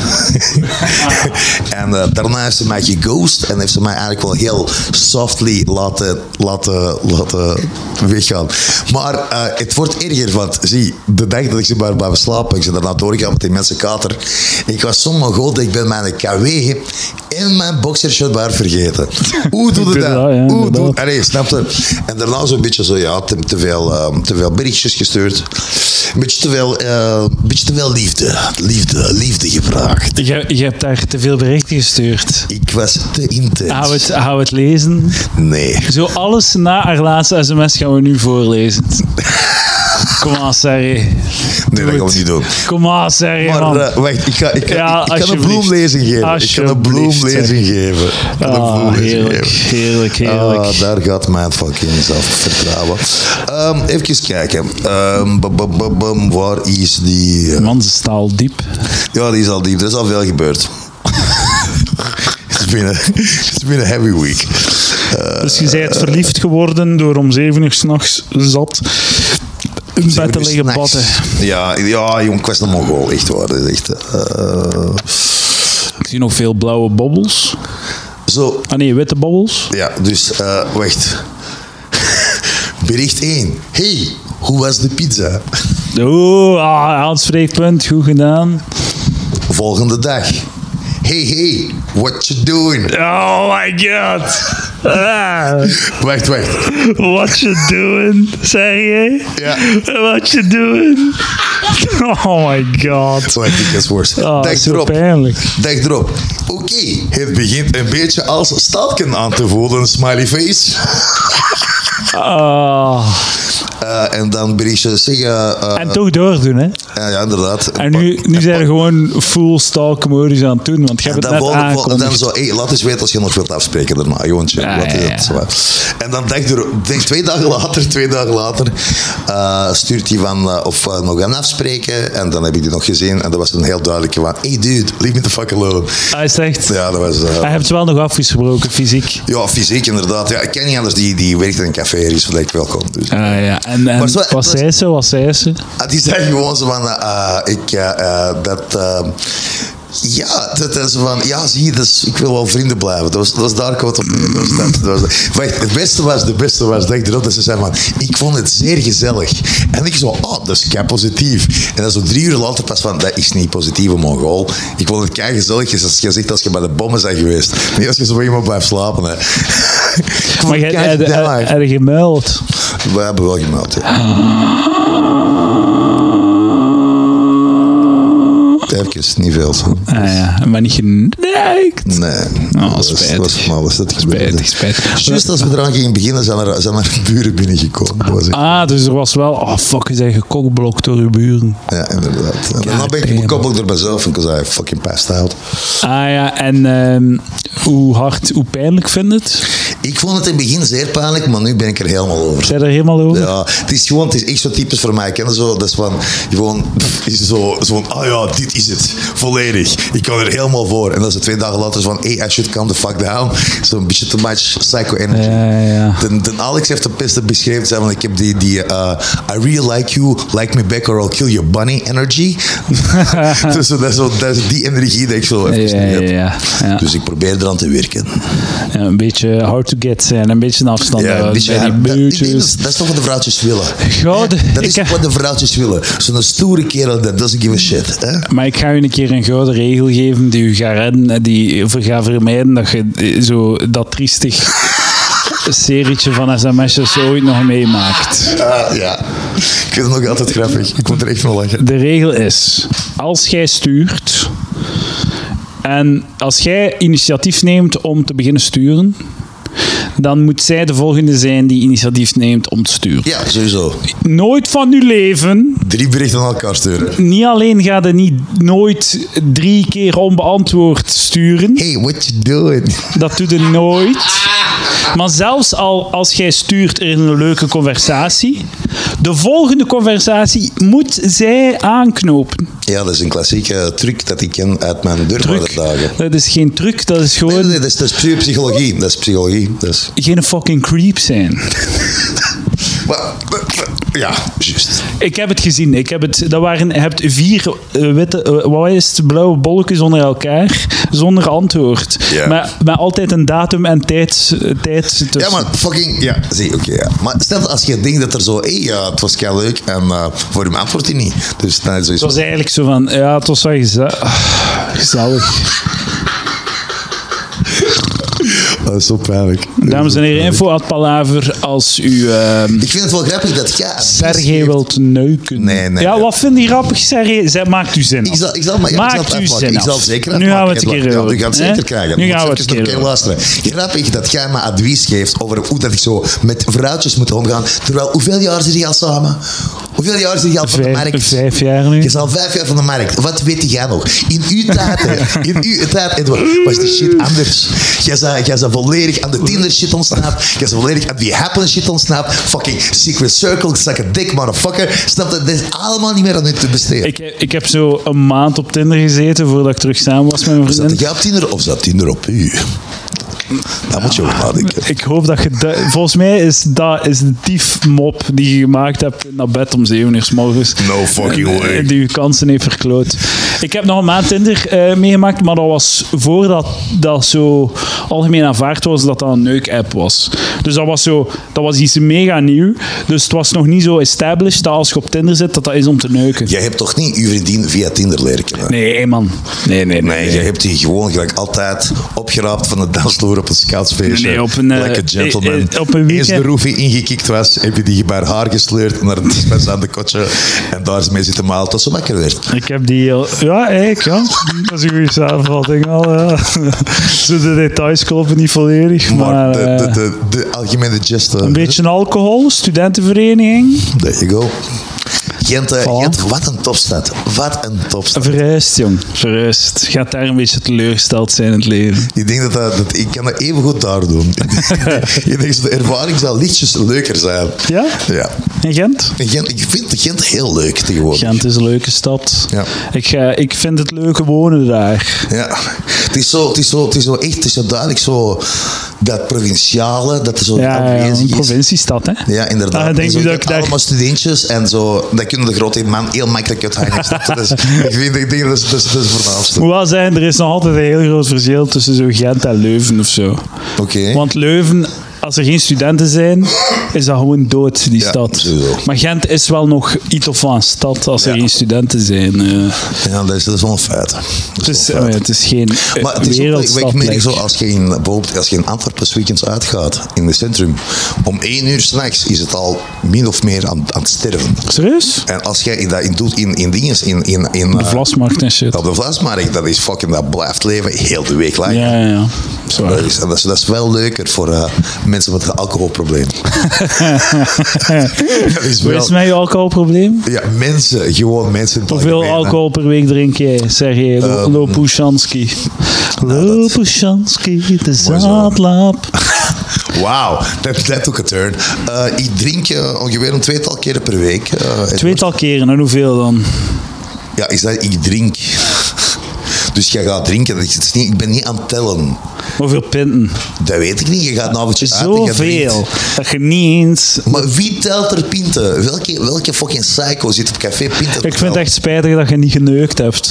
B: (laughs) en eh, daarna heeft ze mij geghost en heeft ze mij eigenlijk wel heel softly laten, laten, laten weggaan. Maar eh, het wordt erger, want zie, de dag dat ik ze maar blijven slapen, ik ze daarna doorgaan met die mensen kater. Ik was zo god dat ik ben mijn KW in mijn boxershot waar vergeten. Hoe doe je
A: Ja, ja,
B: dat? Hoe doe
A: inderdaad.
B: Allee, snap je? En daarna zo'n beetje zo, ja, te, te veel, ehm, te veel berichtjes gestuurd. Een beetje te veel, eh, een beetje te veel liefde. Liefde, liefde gevraagd.
A: Je, je hebt daar te veel berichten gestuurd.
B: Ik was te
A: Hou
B: intens.
A: het, hou het lezen.
B: Nee.
A: Zo alles na haar laatste sms gaan we nu voorlezen. Kom aan, Serre.
B: Nee, dat gaan we niet doen.
A: Kom aan, Serre,
B: Maar
A: man.
B: eh, wacht, ik, ga, ik, kan-
A: Ja,
B: ik kan een
A: alsjeblieft.
B: bloemlezing geven. Ik kan een
A: Alsjeblieft,
B: bloemlezing geven. Ik kan een
A: Ah,
B: bloemlezing
A: heerlijk,
B: geven.
A: heerlijk, heerlijk.
B: Ah, daar gaat mijn fucking zelfvertrouwen. Ehm even kijken. Ehm, bum, bum, bum, bum, waar is die... eh,
A: Man, ze staal diep.
B: Ja, die is al diep. Er is al veel gebeurd. (laughs) Het is been a- it's been a heavy week. Eh,
A: Dus je bent verliefd geworden door om zeven uur s'nachts zat in bed te
B: dus
A: liggen
B: nachts-
A: batten.
B: Ja, ja, jong, ik was een mongool. Echt waar. Dat is echt... eh,
A: Ik zie nog veel blauwe bobbels.
B: zo,
A: Ah nee, witte bobbels.
B: ja, dus eh, wacht. (laughs) Bericht 1. Hey, hoe was de pizza?
A: Oeh, ah, aanspreekpunt, goed gedaan.
B: Volgende dag. Hey, hey, what you doing?
A: Oh my god. Ah.
B: Wacht, wacht.
A: what you doing, zeg je?
B: Ja.
A: What you doing? Oh my god.
B: Wacht, ik is worst.
A: Oh,
B: dag
A: zo
B: erop.
A: pijnlijk.
B: Dag erop. Oké, het begint een beetje als stalken aan te voelen, smiley face.
A: Ah.
B: Eh, en dan berichtje zeggen, eh,
A: En toch doordoen, hè?
B: ja, ja, inderdaad.
A: En nu, nu zijn er gewoon full stalk modus aan het doen, want je
B: En
A: hebt het
B: dan,
A: net
B: volgende- vol- en dan
A: aangekondigd.
B: zo, hey, laat eens weten als je nog wilt afspreken daarna. Gewoon chill.
A: Ja,
B: Wat is
A: ja,
B: het?
A: ja.
B: Zwaar. En dan denk er, denk twee dagen later, twee dagen later, eh, stuurt hij van eh, of we nog gaan afspreken. En dan heb ik die nog gezien en dat was een heel duidelijke van, hey dude, leave me the fuck alone.
A: Hij is echt...
B: Ja, dat was... eh,
A: Hij heeft wel nog afgesproken, fysiek.
B: ja, fysiek inderdaad. Ja, ik ken niet anders, die, die werkt in een café, die is gelijk welkom. Dus.
A: Ah ja, en, en
B: Maar zo-
A: wat
B: dat is-
A: zei ze, wat zei ze?
B: Ah, die zei gewoon zo van, eh, ah, ik, eh, eh, dat, eh, ja, dat is van, ja, zie je, dus ik wil wel vrienden blijven. Dat was, dat was daar kwam het op. neer. Dat was, dat, dat was, wacht, het beste was, de beste was, denk erop dat ze zei van, ik vond het zeer gezellig. En ik zo, oh, dat is kei positief. En dan zo drie uur later pas van, dat is niet positieve mongool. Ik vond het kei gezellig, is als je zegt als je bij de bommen bent geweest. Niet als je zo bij iemand blijft slapen, hè. (laughs) Ik vond
A: Maar
B: het
A: jij eh,
B: kei
A: had- had-
B: gezellig.
A: had je gemuild.
B: We hebben wel gemeld, ja. Even, niet veel. zo.
A: Ah ja, maar niet geneigd.
B: Nee.
A: Oh,
B: dat was-
A: spijtig.
B: Dat was van alles. Dat gebeurde.
A: Spijtig, spijtig.
B: Juist als we eraan gingen beginnen, zijn er, zijn er buren binnengekomen. Dat was echt-
A: Ah, dus er was wel... Oh fuck, je bent gekokblokt door je buren.
B: ja, inderdaad. En daarna ben ik
A: damn.
B: gekoppeld door mezelf, because I fucking passed out.
A: Ah ja, en ehm, hoe hard, hoe pijnlijk vind je het?
B: Ik vond het in het begin zeer pijnlijk, maar nu ben ik er helemaal over.
A: Zijn er helemaal over?
B: Ja, het is gewoon, het is echt zo typisch voor mij. Kennen zo, dat is van, gewoon, pff, is zo, zo van, ah ja, dit is het, volledig. Ik kan er helemaal voor. En dan is het twee dagen later zo van, hey, I should calm the fuck down. Zo'n beetje too much psycho energy.
A: Ja, ja.
B: Den, den Alex heeft de beste beschreven, zei van, ik heb die, die eh, I really like you, like me back or I'll kill your bunny
A: (laughs)
B: energy. dus zo, dat, is zo, dat is die energie die ik zo even
A: Ja,
B: niet
A: ja,
B: heb.
A: ja, ja.
B: Dus ik probeer eraan te werken.
A: Ja, een beetje hard to get zijn, een beetje een afstand
B: Ja,
A: houden
B: een beetje-
A: bij die
B: ja, dat- ik denk
A: buurtjes.
B: dat, dat is toch wat de vrouwtjes willen.
A: Gouden, ik
B: Dat
A: eh,
B: is
A: heb-
B: wat de vrouwtjes willen. Zo'n stoere kerel, that doesn't give a shit. Hè?
A: maar ik ga u een keer een gouden regel geven
B: (laughs)
A: die u gaat redden en die voor gaat vermijden dat je eh, zo dat triestig serietje van sms'jes ooit nog meemaakt.
B: Ah, ja. Ik vind het nog altijd grappig. Ik moet er echt van lachen.
A: De regel is, als jij stuurt en als jij initiatief neemt om te beginnen sturen, dan moet zij de volgende zijn die initiatief neemt om te sturen.
B: Ja, sowieso.
A: Nooit van uw leven
B: Drie berichten aan elkaar sturen.
A: niet alleen gaat het niet nooit drie keer onbeantwoord sturen.
B: Hey, what you doing?
A: Dat doet het nooit. Maar zelfs al als jij stuurt in een leuke conversatie, de volgende conversatie moet zij aanknopen.
B: Ja, dat is een klassieke truc dat ik ken uit mijn deurwaarderdagen.
A: Dat is geen truc, dat is
B: Nee,
A: gewoon
B: nee, dat is, dat is puur psychologie. Dat is psychologie. Dat is...
A: geen fucking creep zijn.
B: Maar- Ja, juist.
A: Ik heb het gezien. Ik heb het, dat waren, je hebt vier eh, witte, eh, wat is het, blauwe bolletjes onder elkaar, zonder antwoord.
B: Ja.
A: Maar, maar altijd een datum en tijd, eh, tijd tussen.
B: Ja, maar fucking... Ja, zie, oké, ja. Maar stel dat als je denkt dat er zo... Hé, hey, ja, het was kei leuk en eh, voor hem antwoordt hij niet. Dus dan is het
A: Het
B: zoiets
A: was eigenlijk zo van, ja, het was wel geze- ah, gezellig.
B: van, "Oh, dat is zo pijnlijk.
A: Dames en heren, info at palaver als u ehm
B: Ik vind het wel grappig dat jij... advies
A: Sergej
B: geeft.
A: wilt neuken.
B: Nee, nee.
A: Ja, wat vind je grappig, Sergej? Zij maakt u zin
B: Ik
A: af.
B: zal, ik zal, maar, ja, ik zal het
A: maakt u
B: afmaken.
A: zin
B: Ik zal
A: af.
B: het
A: Nu
B: zeker
A: gaan we
B: afmaken.
A: het een keer
B: Ja,
A: horen.
B: u gaat het
A: hè?
B: zeker krijgen.
A: Nu
B: Moet
A: gaan we
B: even
A: het
B: nog
A: een keer
B: een keer
A: horen.
B: luisteren. Grappig dat jij me advies geeft over hoe dat ik zo met vrouwtjes moet omgaan. Terwijl, hoeveel jaar zit je al samen? Hoeveel jaar zit je al van de
A: Vijf,
B: markt?
A: vijf jaar nu.
B: Je is al vijf jaar van de markt. Wat weet jij nog? In uw tijd, hè, in uw tijd Edward, was die shit anders. Jij zou, jij zou volledig aan de Tinder shit ontsnapt. Jij zou volledig aan die Happn shit ontsnapt. Fucking Secret Circle, suck a dick, motherfucker. Snap dat? Dit is allemaal niet meer aan u te besteden.
A: Ik, heb- ik heb zo een maand op Tinder gezeten voordat ik terug samen was met mijn
B: Zat
A: vriendin.
B: jij op Tinder of zat Tinder op u? Daar moet je over nadenken.
A: Ik hoop dat je... dat- volgens mij is dat is de diefmop die je gemaakt hebt naar bed om 7 uur s morgens.
B: No fucking way.
A: En eh, Die je kansen heeft verkloot. Ik heb nog een maand Tinder eh, meegemaakt, maar dat was voordat dat zo algemeen aanvaard was dat dat een neuk-app was. Dus dat was, zo, dat was iets mega nieuw. Dus het was nog niet zo established dat als je op Tinder zit, dat dat is om te neuken.
B: Jij hebt toch niet uw vriendin via Tinder leren kennen?
A: Nee, man. Nee, nee, nee.
B: Nee, jij hebt die gewoon gelijk altijd opgeraapt van de dansvloer op een schaatsfeestje.
A: Nee, op een, eh,
B: Like a gentleman.
A: eh, eh, op een weekend.
B: Eens de roofie ingekikt was, heb je die bij haar haar gesleurd naar een dispenser aan de kotje. En daar is mee zitten malen tot ze wakker werd.
A: Ik heb die heel... Ja, eigenlijk, ja. Dat is een goede samenvatting al, ja. (laughs) Zo de details kloppen niet volledig, maar...
B: Maar
A: eh,
B: de, de, de, de algemene geste.
A: Een beetje alcohol, studentenvereniging.
B: There you go. Gent, eh,
A: Voilà.
B: Gent, wat een topstad. Wat een topstad.
A: Verhuisd, jong. Verhuisd. Gaat daar een beetje teleurgesteld zijn in het leven.
B: Ik denk dat, dat, dat- ik kan dat even goed daar doen. (laughs) ik denk dat de ervaring zal lichtjes leuker zijn.
A: Ja?
B: Ja.
A: En Gent?
B: En Gent, ik vind Gent heel leuk tegenwoordig.
A: Gent is een leuke stad.
B: Ja.
A: Ik, ga, ik vind het leuke wonen daar.
B: Ja. Het is zo, het is zo, het is zo echt, het is zo duidelijk zo dat provinciale, dat er zo
A: Ja, ja,
B: aanwezig
A: een
B: is.
A: provinciestad, hè?
B: Ja, inderdaad.
A: Ah, denk
B: Zo,
A: je
B: je
A: dat
B: hebt
A: ik daar...
B: allemaal studentjes en zo, dat kunnen de grote man heel makkelijk
A: (laughs)
B: uithangen. snap je? Dat is- ik vind ik denk dat is, dat is, dat is het voornaamste.
A: Moet wel zeggen, er is nog altijd een heel groot verschil tussen zo Gent en Leuven of zo.
B: Oké.
A: Want Leuven, als er geen studenten zijn, is dat gewoon dood, die
B: Ja,
A: stad.
B: sowieso.
A: Maar Gent is wel nog iets of een stad als er
B: Ja.
A: geen studenten zijn. eh.
B: Ja, dat is, dat is wel een feit. Dat is
A: het, is,
B: wel
A: oh
B: een
A: ja,
B: feit.
A: het is geen eh,
B: Maar het is ook, wat ik
A: wereldstad.
B: merk
A: like.
B: zo, als je in, bijvoorbeeld, als je in Antwerpen 's weekends uitgaat, in het centrum, om één uur s'nachts is het al min of meer aan, aan het sterven.
A: Serieus?
B: En als jij dat in doet in, in dingen, in, in, in
A: De
B: eh,
A: vlasmarkt en shit.
B: op de Vlasmarkt, dat is fucking, dat blijft leven heel de week lang.
A: Ja, ja, ja. Zo.
B: Dat is, dat, is, dat is wel leuker voor eh, mensen met een alcoholprobleem.
A: (laughs)
B: dat is
A: Wat is
B: wel...
A: met je alcoholprobleem?
B: Ja, mensen, gewoon mensen. in het
A: Hoeveel
B: algemeen, hè.
A: alcohol per week drink jij, zeg je?
B: Ehm,
A: Lopushansky. Lopushansky, de
B: Mooi zo. (laughs)
A: zaadlap.
B: Wauw, dat dat took a turn. Eh, ik drink eh, ongeveer een tweetal keren per week. eh, en-
A: Tweetal keren, en hoeveel dan?
B: Ja, is dat ik drink. Dus jij gaat drinken. Dat is- het is niet, ik ben niet aan het tellen.
A: Hoeveel pinten?
B: Dat weet ik niet. Je gaat een avondje uit en je
A: Zoveel.
B: drinkt.
A: Dat je niet eens...
B: Maar wie telt er pinten? Welke, welke fucking psycho zit op café pinten? te
A: Ik vind het
B: tellen?
A: echt spijtig dat je niet geneukt hebt.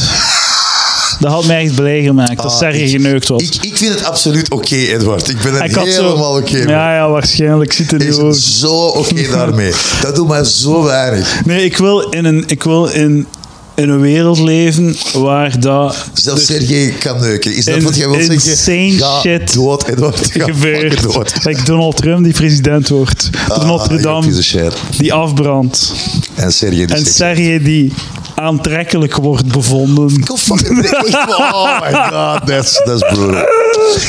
A: Dat had mij echt blij gemaakt, dat
B: Ah,
A: Serge
B: ik-
A: geneukt was.
B: Ik, ik vind het absoluut oké, Edward. Ik ben het
A: Ik had zo-
B: helemaal oké. mee.
A: Ja, ja, waarschijnlijk. Ik Zit er
B: Hij
A: nu ook. (laughs)
B: is zo oké daarmee. Dat doet mij zo weinig.
A: Nee, ik wil in een... Ik wil in in een wereld leven waar dat
B: Zelfs Sergej kan neuken. Is dat
A: Dus In-
B: wat jij wilt zeggen?
A: insane
B: Ga
A: shit
B: dood, Edward. Ga
A: gebeurt.
B: fucking dood.
A: Like Donald Trump die president wordt.
B: Ah,
A: de Notre
B: je piece of
A: Dame
B: shit.
A: die afbrandt.
B: En Sergej die
A: En
B: zegt-
A: Sergej die aantrekkelijk wordt bevonden.
B: Go fucking nee, echt, (laughs) Oh my god, that's, that's brutal.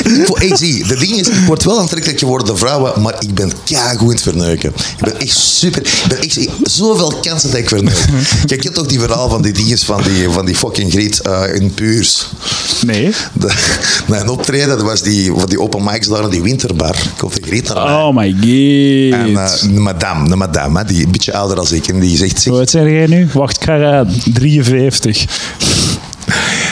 B: Ik, vo- ik zie, de ding is, ik word wel aantrekkelijk geworden door vrouwen, maar ik ben keigoed in het verneuken. Ik ben echt super, ik ben echt zoveel kansen dat ik verneuk. Kijk, je hebt ook die verhaal van die dinges van die, van die fucking griet eh, in Puurs.
A: Nee.
B: De, na een optreden, dat was die, van die open mics daar in die winterbar. Koffie Griet daar.
A: Oh my god.
B: En eh, een madame, een madame, hè, die een beetje ouder als ik, en die zegt, zeg,
A: Hoe oud zijn jij nu? Wacht, ik ga eh, raden. 53.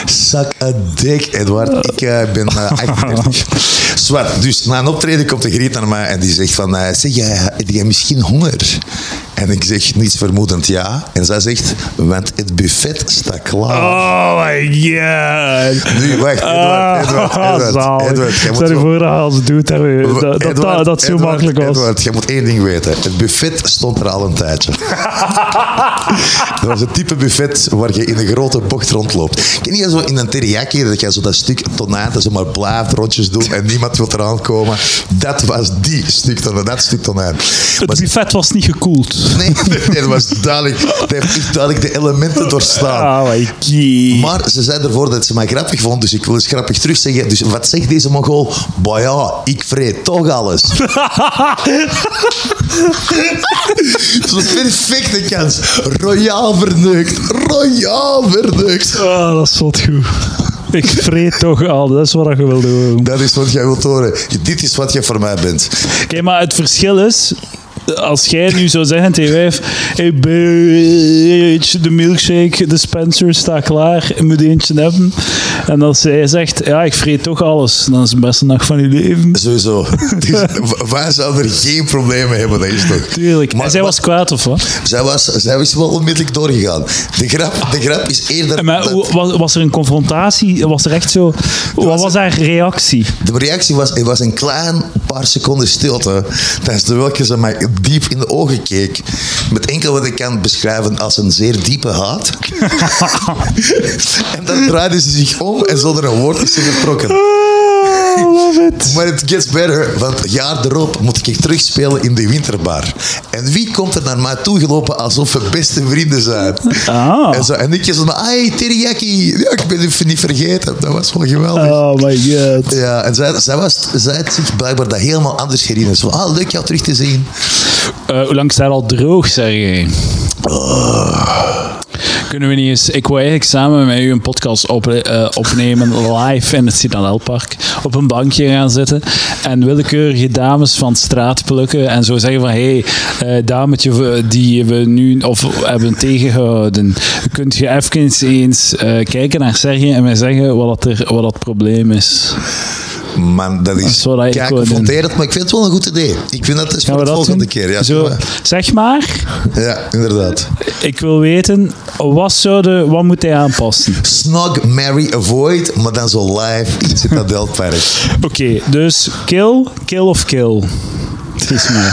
B: Zak een dik, Edward. Ik eh, ben
A: (laughs)
B: eh, 38. Zwart. Dus na een optreden komt de griet naar mij en die zegt van... eh, zeg, jij, heb jij misschien honger? En ik zeg niets vermoedend ja. En zij zegt, want het buffet staat klaar.
A: Oh my god.
B: Nu, wacht, Edward,
A: Ah, (laughs)
B: Edward, Edward,
A: zalig.
B: Edward, jij moet
A: Stel je
B: wel-
A: voor dat als doet dat, we- dat, Dus dat, dat,
B: Edward,
A: dat zo
B: Edward,
A: makkelijk was.
B: Edward, je moet één ding weten. Het buffet stond er al een
A: (laughs)
B: tijdje. dat was het type buffet waar je in een grote bocht rondloopt. Ken je zo in een teriyaki, dat je zo dat stuk tonijn zo maar blijft rondjes doen en niemand wil eraan komen? Dat was die stuk tonijn. Dat stuk tonijn. Maar
A: Het buffet was niet gekoeld.
B: nee, nee, nee, dat was duidelijk. Dat heeft echt duidelijk de elementen doorstaan.
A: Oh my god.
B: Maar ze zei ervoor dat ze mij grappig vond, dus ik wil eens grappig terugzeggen. Dus wat zegt deze Mongool? Bah ja, ik vreet toch alles. Zo'n perfecte kans. Royaal verneukt. Royaal verneukt.
A: Ah, dat is wat goed. Ik vreet toch al, dat is wat je wilde
B: (laughs)
A: horen. Oké,
B: Dat is wat jij wilt horen. Dit is wat jij voor mij bent.
A: maar het verschil is, als jij nu zou zeggen tegen wijf, hey bitch, de milkshake, de Spencer staat klaar, ik moet eentje hebben. En als zij zegt, ja, ik vreet toch alles, dan is het beste nacht van je leven.
B: (laughs) Sowieso. Het is- w- wij zouden er geen probleem mee hebben, dat is toch.
A: Tuurlijk.
B: Maar-
A: en zij
B: maar-
A: was kwaad, of wat?
B: Zij was, zij is wel onmiddellijk doorgegaan. De grap, de grap is eerder...
A: Maar
B: dat-
A: hoe- was, was er een confrontatie? Was er echt zo... Wat was haar reactie?
B: De reactie was, er was een klein paar seconden stilte, tijdens welke ze mij diep in de ogen keek. Met enkel wat ik kan beschrijven als een zeer diepe haat. (laughs) en dan draaide ze zich om en zonder een woord is ze vertrokken.
A: I love it.
B: Maar het gets better, want het jaar erop moet ik terugspelen in de winterbar. En wie komt er naar mij toe gelopen alsof we beste vrienden zijn?
A: Ah.
B: En, zo, en ik zo, ai, teriyaki. Ja, ik ben het niet vergeten. Dat was wel geweldig.
A: Oh my god.
B: Ja, en zij, zij, was, zij had zich blijkbaar dat helemaal anders herinnerd. Zo, ah, leuk jou terug te zien.
A: Eh, hoe lang staat al droog, zeg je? Eh, Kunnen we niet eens... Ik wil eigenlijk samen met u een podcast op, eh, opnemen, live in het Citadelpark. Op een bankje gaan zitten en willekeurige dames van straat plukken en zo zeggen van, hé, hey, eh, dametje die we nu of hebben tegengehouden, kunt je even eens eh, kijken naar Sergej en mij zeggen wat, dat er, wat dat probleem is.
B: Man, dat
A: is
B: is
A: wat ik
B: kijk,
A: wou doen.
B: confronterend, maar ik vind het wel een goed idee. Ik vind dat is
A: Gaan
B: voor
A: we
B: de
A: dat
B: volgende
A: doen?
B: keer. Ja,
A: zo,
B: zullen
A: zeg maar...
B: we- ja, inderdaad.
A: Ik wil weten, wat, zou de, wat moet hij
B: (laughs)
A: aanpassen?
B: Snog, marry, avoid, maar dan zo live in Citadel Park.
A: Oké, dus kill, kill of kill? Het is mij.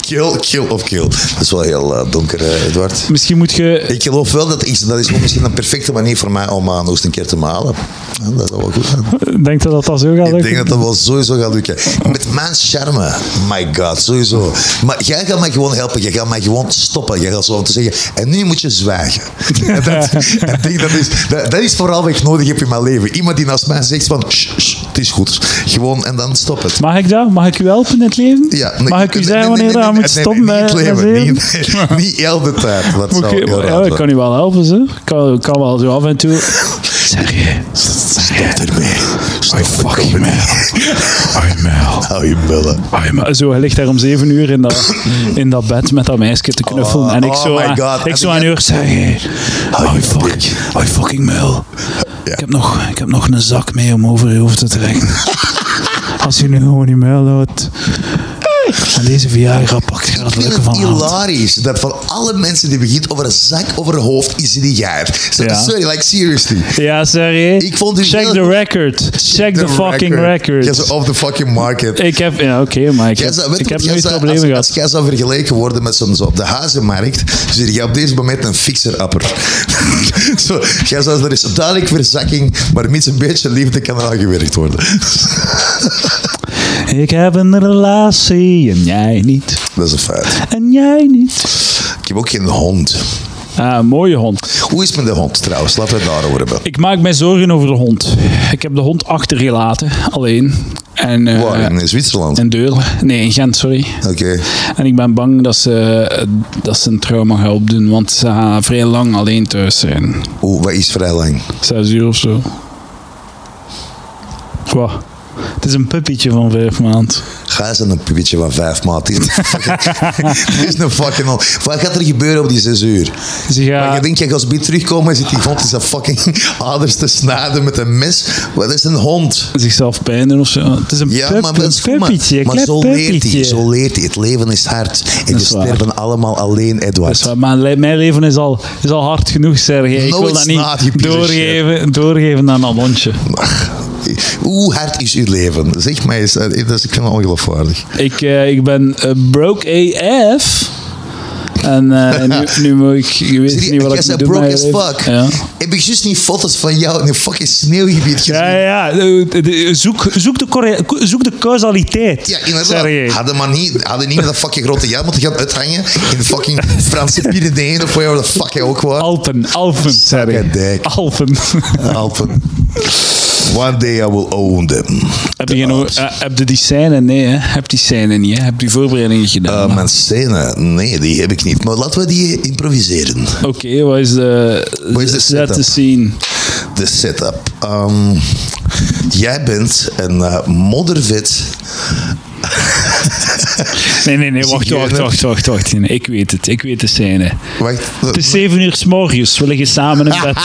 B: Kill, kill of kill. Dat is wel heel eh, donker, eh, Edward.
A: Misschien moet je...
B: Ik geloof wel dat is, dat is wel misschien een perfecte manier voor mij om aan nog eens een keer te malen. Ja, dat zou wel goed zijn.
A: Denk je dat dat zo gaat
B: Ik
A: lukken?
B: denk dat dat wel sowieso gaat lukken. Met mijn charme. My god, sowieso. Maar jij gaat mij gewoon helpen. Jij gaat mij gewoon stoppen. Jij gaat zo te zeggen. En nu moet je zwijgen. En
A: (laughs)
B: dat, en ik denk, dat, is, dat, dat is vooral wat ik nodig heb in mijn leven. Iemand die naast mij zegt van. "Shh, shh, het is goed. Gewoon en dan stop het.
A: Mag ik dat? Mag ik u helpen in het leven?
B: Ja, nee,
A: Mag ik u
B: nee,
A: zeggen
B: nee, nee,
A: wanneer dat
B: nee, nee,
A: moet
B: nee,
A: stoppen
B: nee,
A: met
B: Niet leven,
A: raseren?
B: niet, (laughs) niet heel de tijd. Wat
A: Moet
B: zou
A: ik-
B: heel
A: ja,
B: raar
A: ik kan
B: zijn.
A: u wel helpen, ze. Ik kan, ik kan wel zo af en
B: (laughs)
A: toe... Sergej,
B: Stop ermee. Stop
A: fuck you,
B: man. (laughs) Hou je bellen.
A: man. Ah, Zo, hij ligt daar om zeven uur in dat, in dat bed met dat meisje te knuffelen.
B: Oh,
A: en ik
B: oh
A: zo,
B: my
A: aan-
B: God.
A: Ik
B: En
A: zo
B: die-
A: aan uur Sergej, hou je fuck, hou je fucking muil.
B: Ja.
A: Ik, heb nog, ik heb nog een zak mee om over je hoofd te
B: (laughs)
A: trekken. Als je nu gewoon je muil houdt. En deze Viagra pakt gaat het
B: Ik
A: lukken
B: vind het
A: van
B: hilarisch dat van alle mensen die begint over een zak over een hoofd, is die jij. So-
A: Ja.
B: Sorry, like seriously.
A: Ja, sorry.
B: Ik vond u
A: Check
B: heel-
A: the record. Check the, fucking record.
B: Jij bent off the fucking market.
A: Ik heb... Ja, oké, maar ik
B: Jij
A: heb,
B: zou- weet
A: ik
B: je
A: heb
B: wat, jij
A: nooit
B: zou-
A: problemen
B: als,
A: gehad.
B: als jij zou vergeleken worden met zo'n zo op de hazenmarkt, zit je op deze moment een fixer-apper. (laughs) Zo, jij zei, er is duidelijk verzakking, maar met een beetje liefde kan eraan gewerkt worden.
A: Ik heb een relatie en jij niet.
B: Dat is een feit.
A: En jij niet.
B: Ik heb ook geen hond.
A: Ah, een mooie hond.
B: Hoe is het met de hond trouwens? Laten we het daarover hebben.
A: Ik maak mij zorgen over de hond. Ik heb de hond achtergelaten, alleen. En, eh,
B: Waar? In Zwitserland.
A: In Deurle. Nee, in Gent, sorry.
B: Oké.
A: En ik ben bang dat ze, eh, dat ze een trauma gaat opdoen, want ze gaan vrij lang alleen thuis zijn.
B: Oeh, wat is vrij lang?
A: Zes uur of zo. Wat? Het is een puppietje van vijf maanden.
B: Ga eens aan een puppetje van vijf maat. Dit is een fucking- (laughs) dit is een fucking hond. Wat gaat er gebeuren op die zes uur?
A: Ze
B: Maar
A: gaat...
B: je denkt, je gaat zo binnen terugkomen en zit die hond in zijn fucking (laughs) aders te snijden met een mes. Wat is een hond?
A: zichzelf pijn doen of zo. Het is een,
B: Ja,
A: pup,
B: maar dat
A: een
B: is goed, maar-
A: puppietje, een
B: Maar,
A: klein
B: zo leert hij,
A: puppietje.
B: zo leert hij. Het leven is hard. En we
A: is waar.
B: sterven allemaal alleen,
A: Dat is
B: Edward.
A: waar, maar le- Dus mijn leven is al, is al hard genoeg, Serge. Ik wil
B: Nooit
A: dat
B: slaat, je
A: niet
B: piece of
A: doorgeven, doorgeven aan een hondje.
B: Ach, Hoe hard is uw leven? Zeg mij eens, eh, dat is, ik vind het ongeloofwaardig.
A: Ik, eh, ik ben eh, broke AF. En eh,
B: (laughs)
A: nu, nu moet ik... Je weet
B: Zie je,
A: niet wat
B: jij
A: ik moet
B: bent
A: doen
B: broke
A: met
B: as
A: mijn leven.
B: fuck.
A: Ja.
B: Heb ik juist niet foto's van jou in een fucking sneeuwgebied gezien?
A: Ja, ja, ja. De- de- Zoek, zoek, de, corre- zoek de causaliteit.
B: Ja, inderdaad.
A: Serge.
B: Hadden maar niet, hadden niet met dat fucking grote jij moeten gaan uithangen in de fucking Franse Pyreneeën of waar de fuck jij ook was.
A: Alpen, Alpen, Serge.
B: Zakken dik.
A: Alpen.
B: Alpen. One day I will own them.
A: (laughs) heb, je nog, eh, heb je die scène? Nee, hè? Heb die scène niet, hè? Heb die voorbereidingen gedaan?
B: Eh, mijn scène, nee, die heb ik niet. Maar laten we die improviseren.
A: Oké, wat is de...
B: Ehm. Wat is de
A: Zet de
B: setup?
A: scene.
B: De setup. Ehm, jij bent een eh, moddervet.
A: Nee, nee, nee, wacht,
B: Zie je
A: wacht,
B: dat?
A: wacht, wacht, wacht. Nee, Ik weet het, ik weet de scène.
B: Wacht.
A: Het is zeven uur s morgens, we liggen samen in
B: (laughs)
A: bed.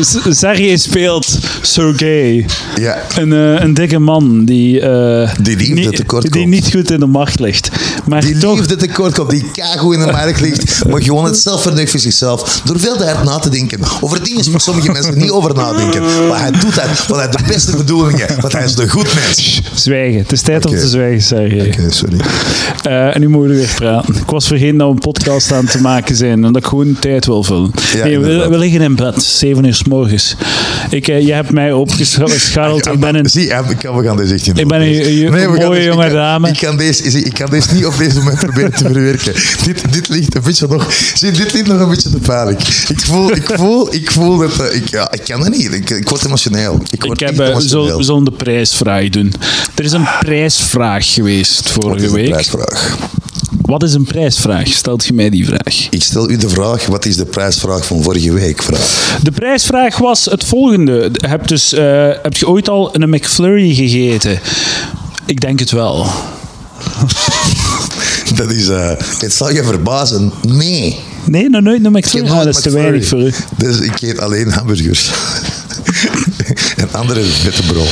A: S- Sergej speelt Sergej.
B: Ja.
A: Een, eh, een dikke man die, eh,
B: Die liefde
A: niet-
B: tekort
A: die
B: komt.
A: niet goed in de macht ligt. Maar
B: Die
A: toch,
B: liefde tekort komt, die kago in de markt ligt, maar gewoon het zelf verneuk voor zichzelf. Door veel te hard na te denken. Over dingen waar sommige mensen niet over nadenken. Maar hij doet dat vanuit de beste bedoelingen, want hij is een goed mens.
A: zwijgen. Het is tijd om
B: Oké.
A: te zwijgen, Sergej.
B: sorry.
A: Eh, en nu mogen we weer praten. Ik was vergeten dat we een podcast aan te maken zijn en dat ik gewoon tijd wil vullen.
B: Ja,
A: nee, we,
B: inderdaad.
A: we liggen in bed, zeven uur s morgens. Ik, eh, je hebt mij
B: (laughs)
A: opgescharreld. Ik ben een
B: Zie, eh, ik kan, we gaan deze echt niet
A: Ik ben een- een- een
B: we gaan
A: mooie
B: deze- (laughs) ik
A: jonge
B: kan-
A: dame.
B: Ik kan, deze, zie, ik kan deze niet op deze moment proberen te verwerken. Dit, dit ligt een beetje nog... Zie, dit ligt nog een beetje te pijnlijk. Ik voel, ik voel, ik voel dat... eh, Ik, ja, ik kan dat niet. Ik, ik word emotioneel. Ik
A: Ik
B: word
A: heb,
B: echt
A: eh,
B: emotioneel. Ah.
A: zo, zo'n de prijsvraag doen. Er is een prijsvraag geweest
B: Wat is
A: vorige
B: de
A: week.
B: prijsvraag?
A: Wat is een prijsvraag? Stelt je mij die vraag.
B: Ik stel u de vraag, wat is de prijsvraag van vorige week? Vraag.
A: De prijsvraag was het volgende. Heb, dus, eh, heb je ooit al een McFlurry gegeten? Ik denk het wel.
B: Dat is, eh het zal je verbazen, nee.
A: Nee, nog nooit een
B: Ik heb
A: McFlurry. Ah,
B: nooit
A: dat is te
B: McFlurry.
A: weinig voor u.
B: Dus ik eet alleen hamburgers. (laughs) en andere vette bro.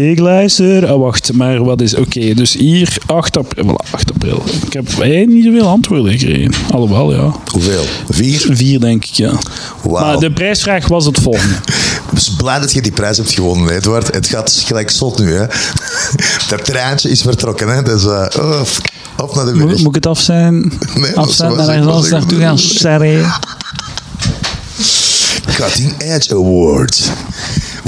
A: Ik luister. Ah, wacht, maar wat is. Oké, dus hier 8 april. Voilà, 8 april. Ik heb eigenlijk niet zoveel antwoorden gekregen. Alhoewel, ja.
B: Hoeveel? Vier?
A: Vier, denk ik, ja. Maar
B: Wauw.
A: de prijsvraag was het
B: (laughs)
A: volgende.
B: Dus blij dat je die prijs hebt gewonnen, Edward. Het gaat gelijk zot nu, hè. (laughs) dat treintje is vertrokken, hè. Dus, eh oh, op naar de
A: Moet,
B: middag.
A: moet ik het af zijn?
B: Nee,
A: af zijn
B: dat
A: en ergens
B: was- dat
A: anders
B: was-
A: naartoe
B: (laughs)
A: gaan? Sorry.
B: Cutting Edge Award.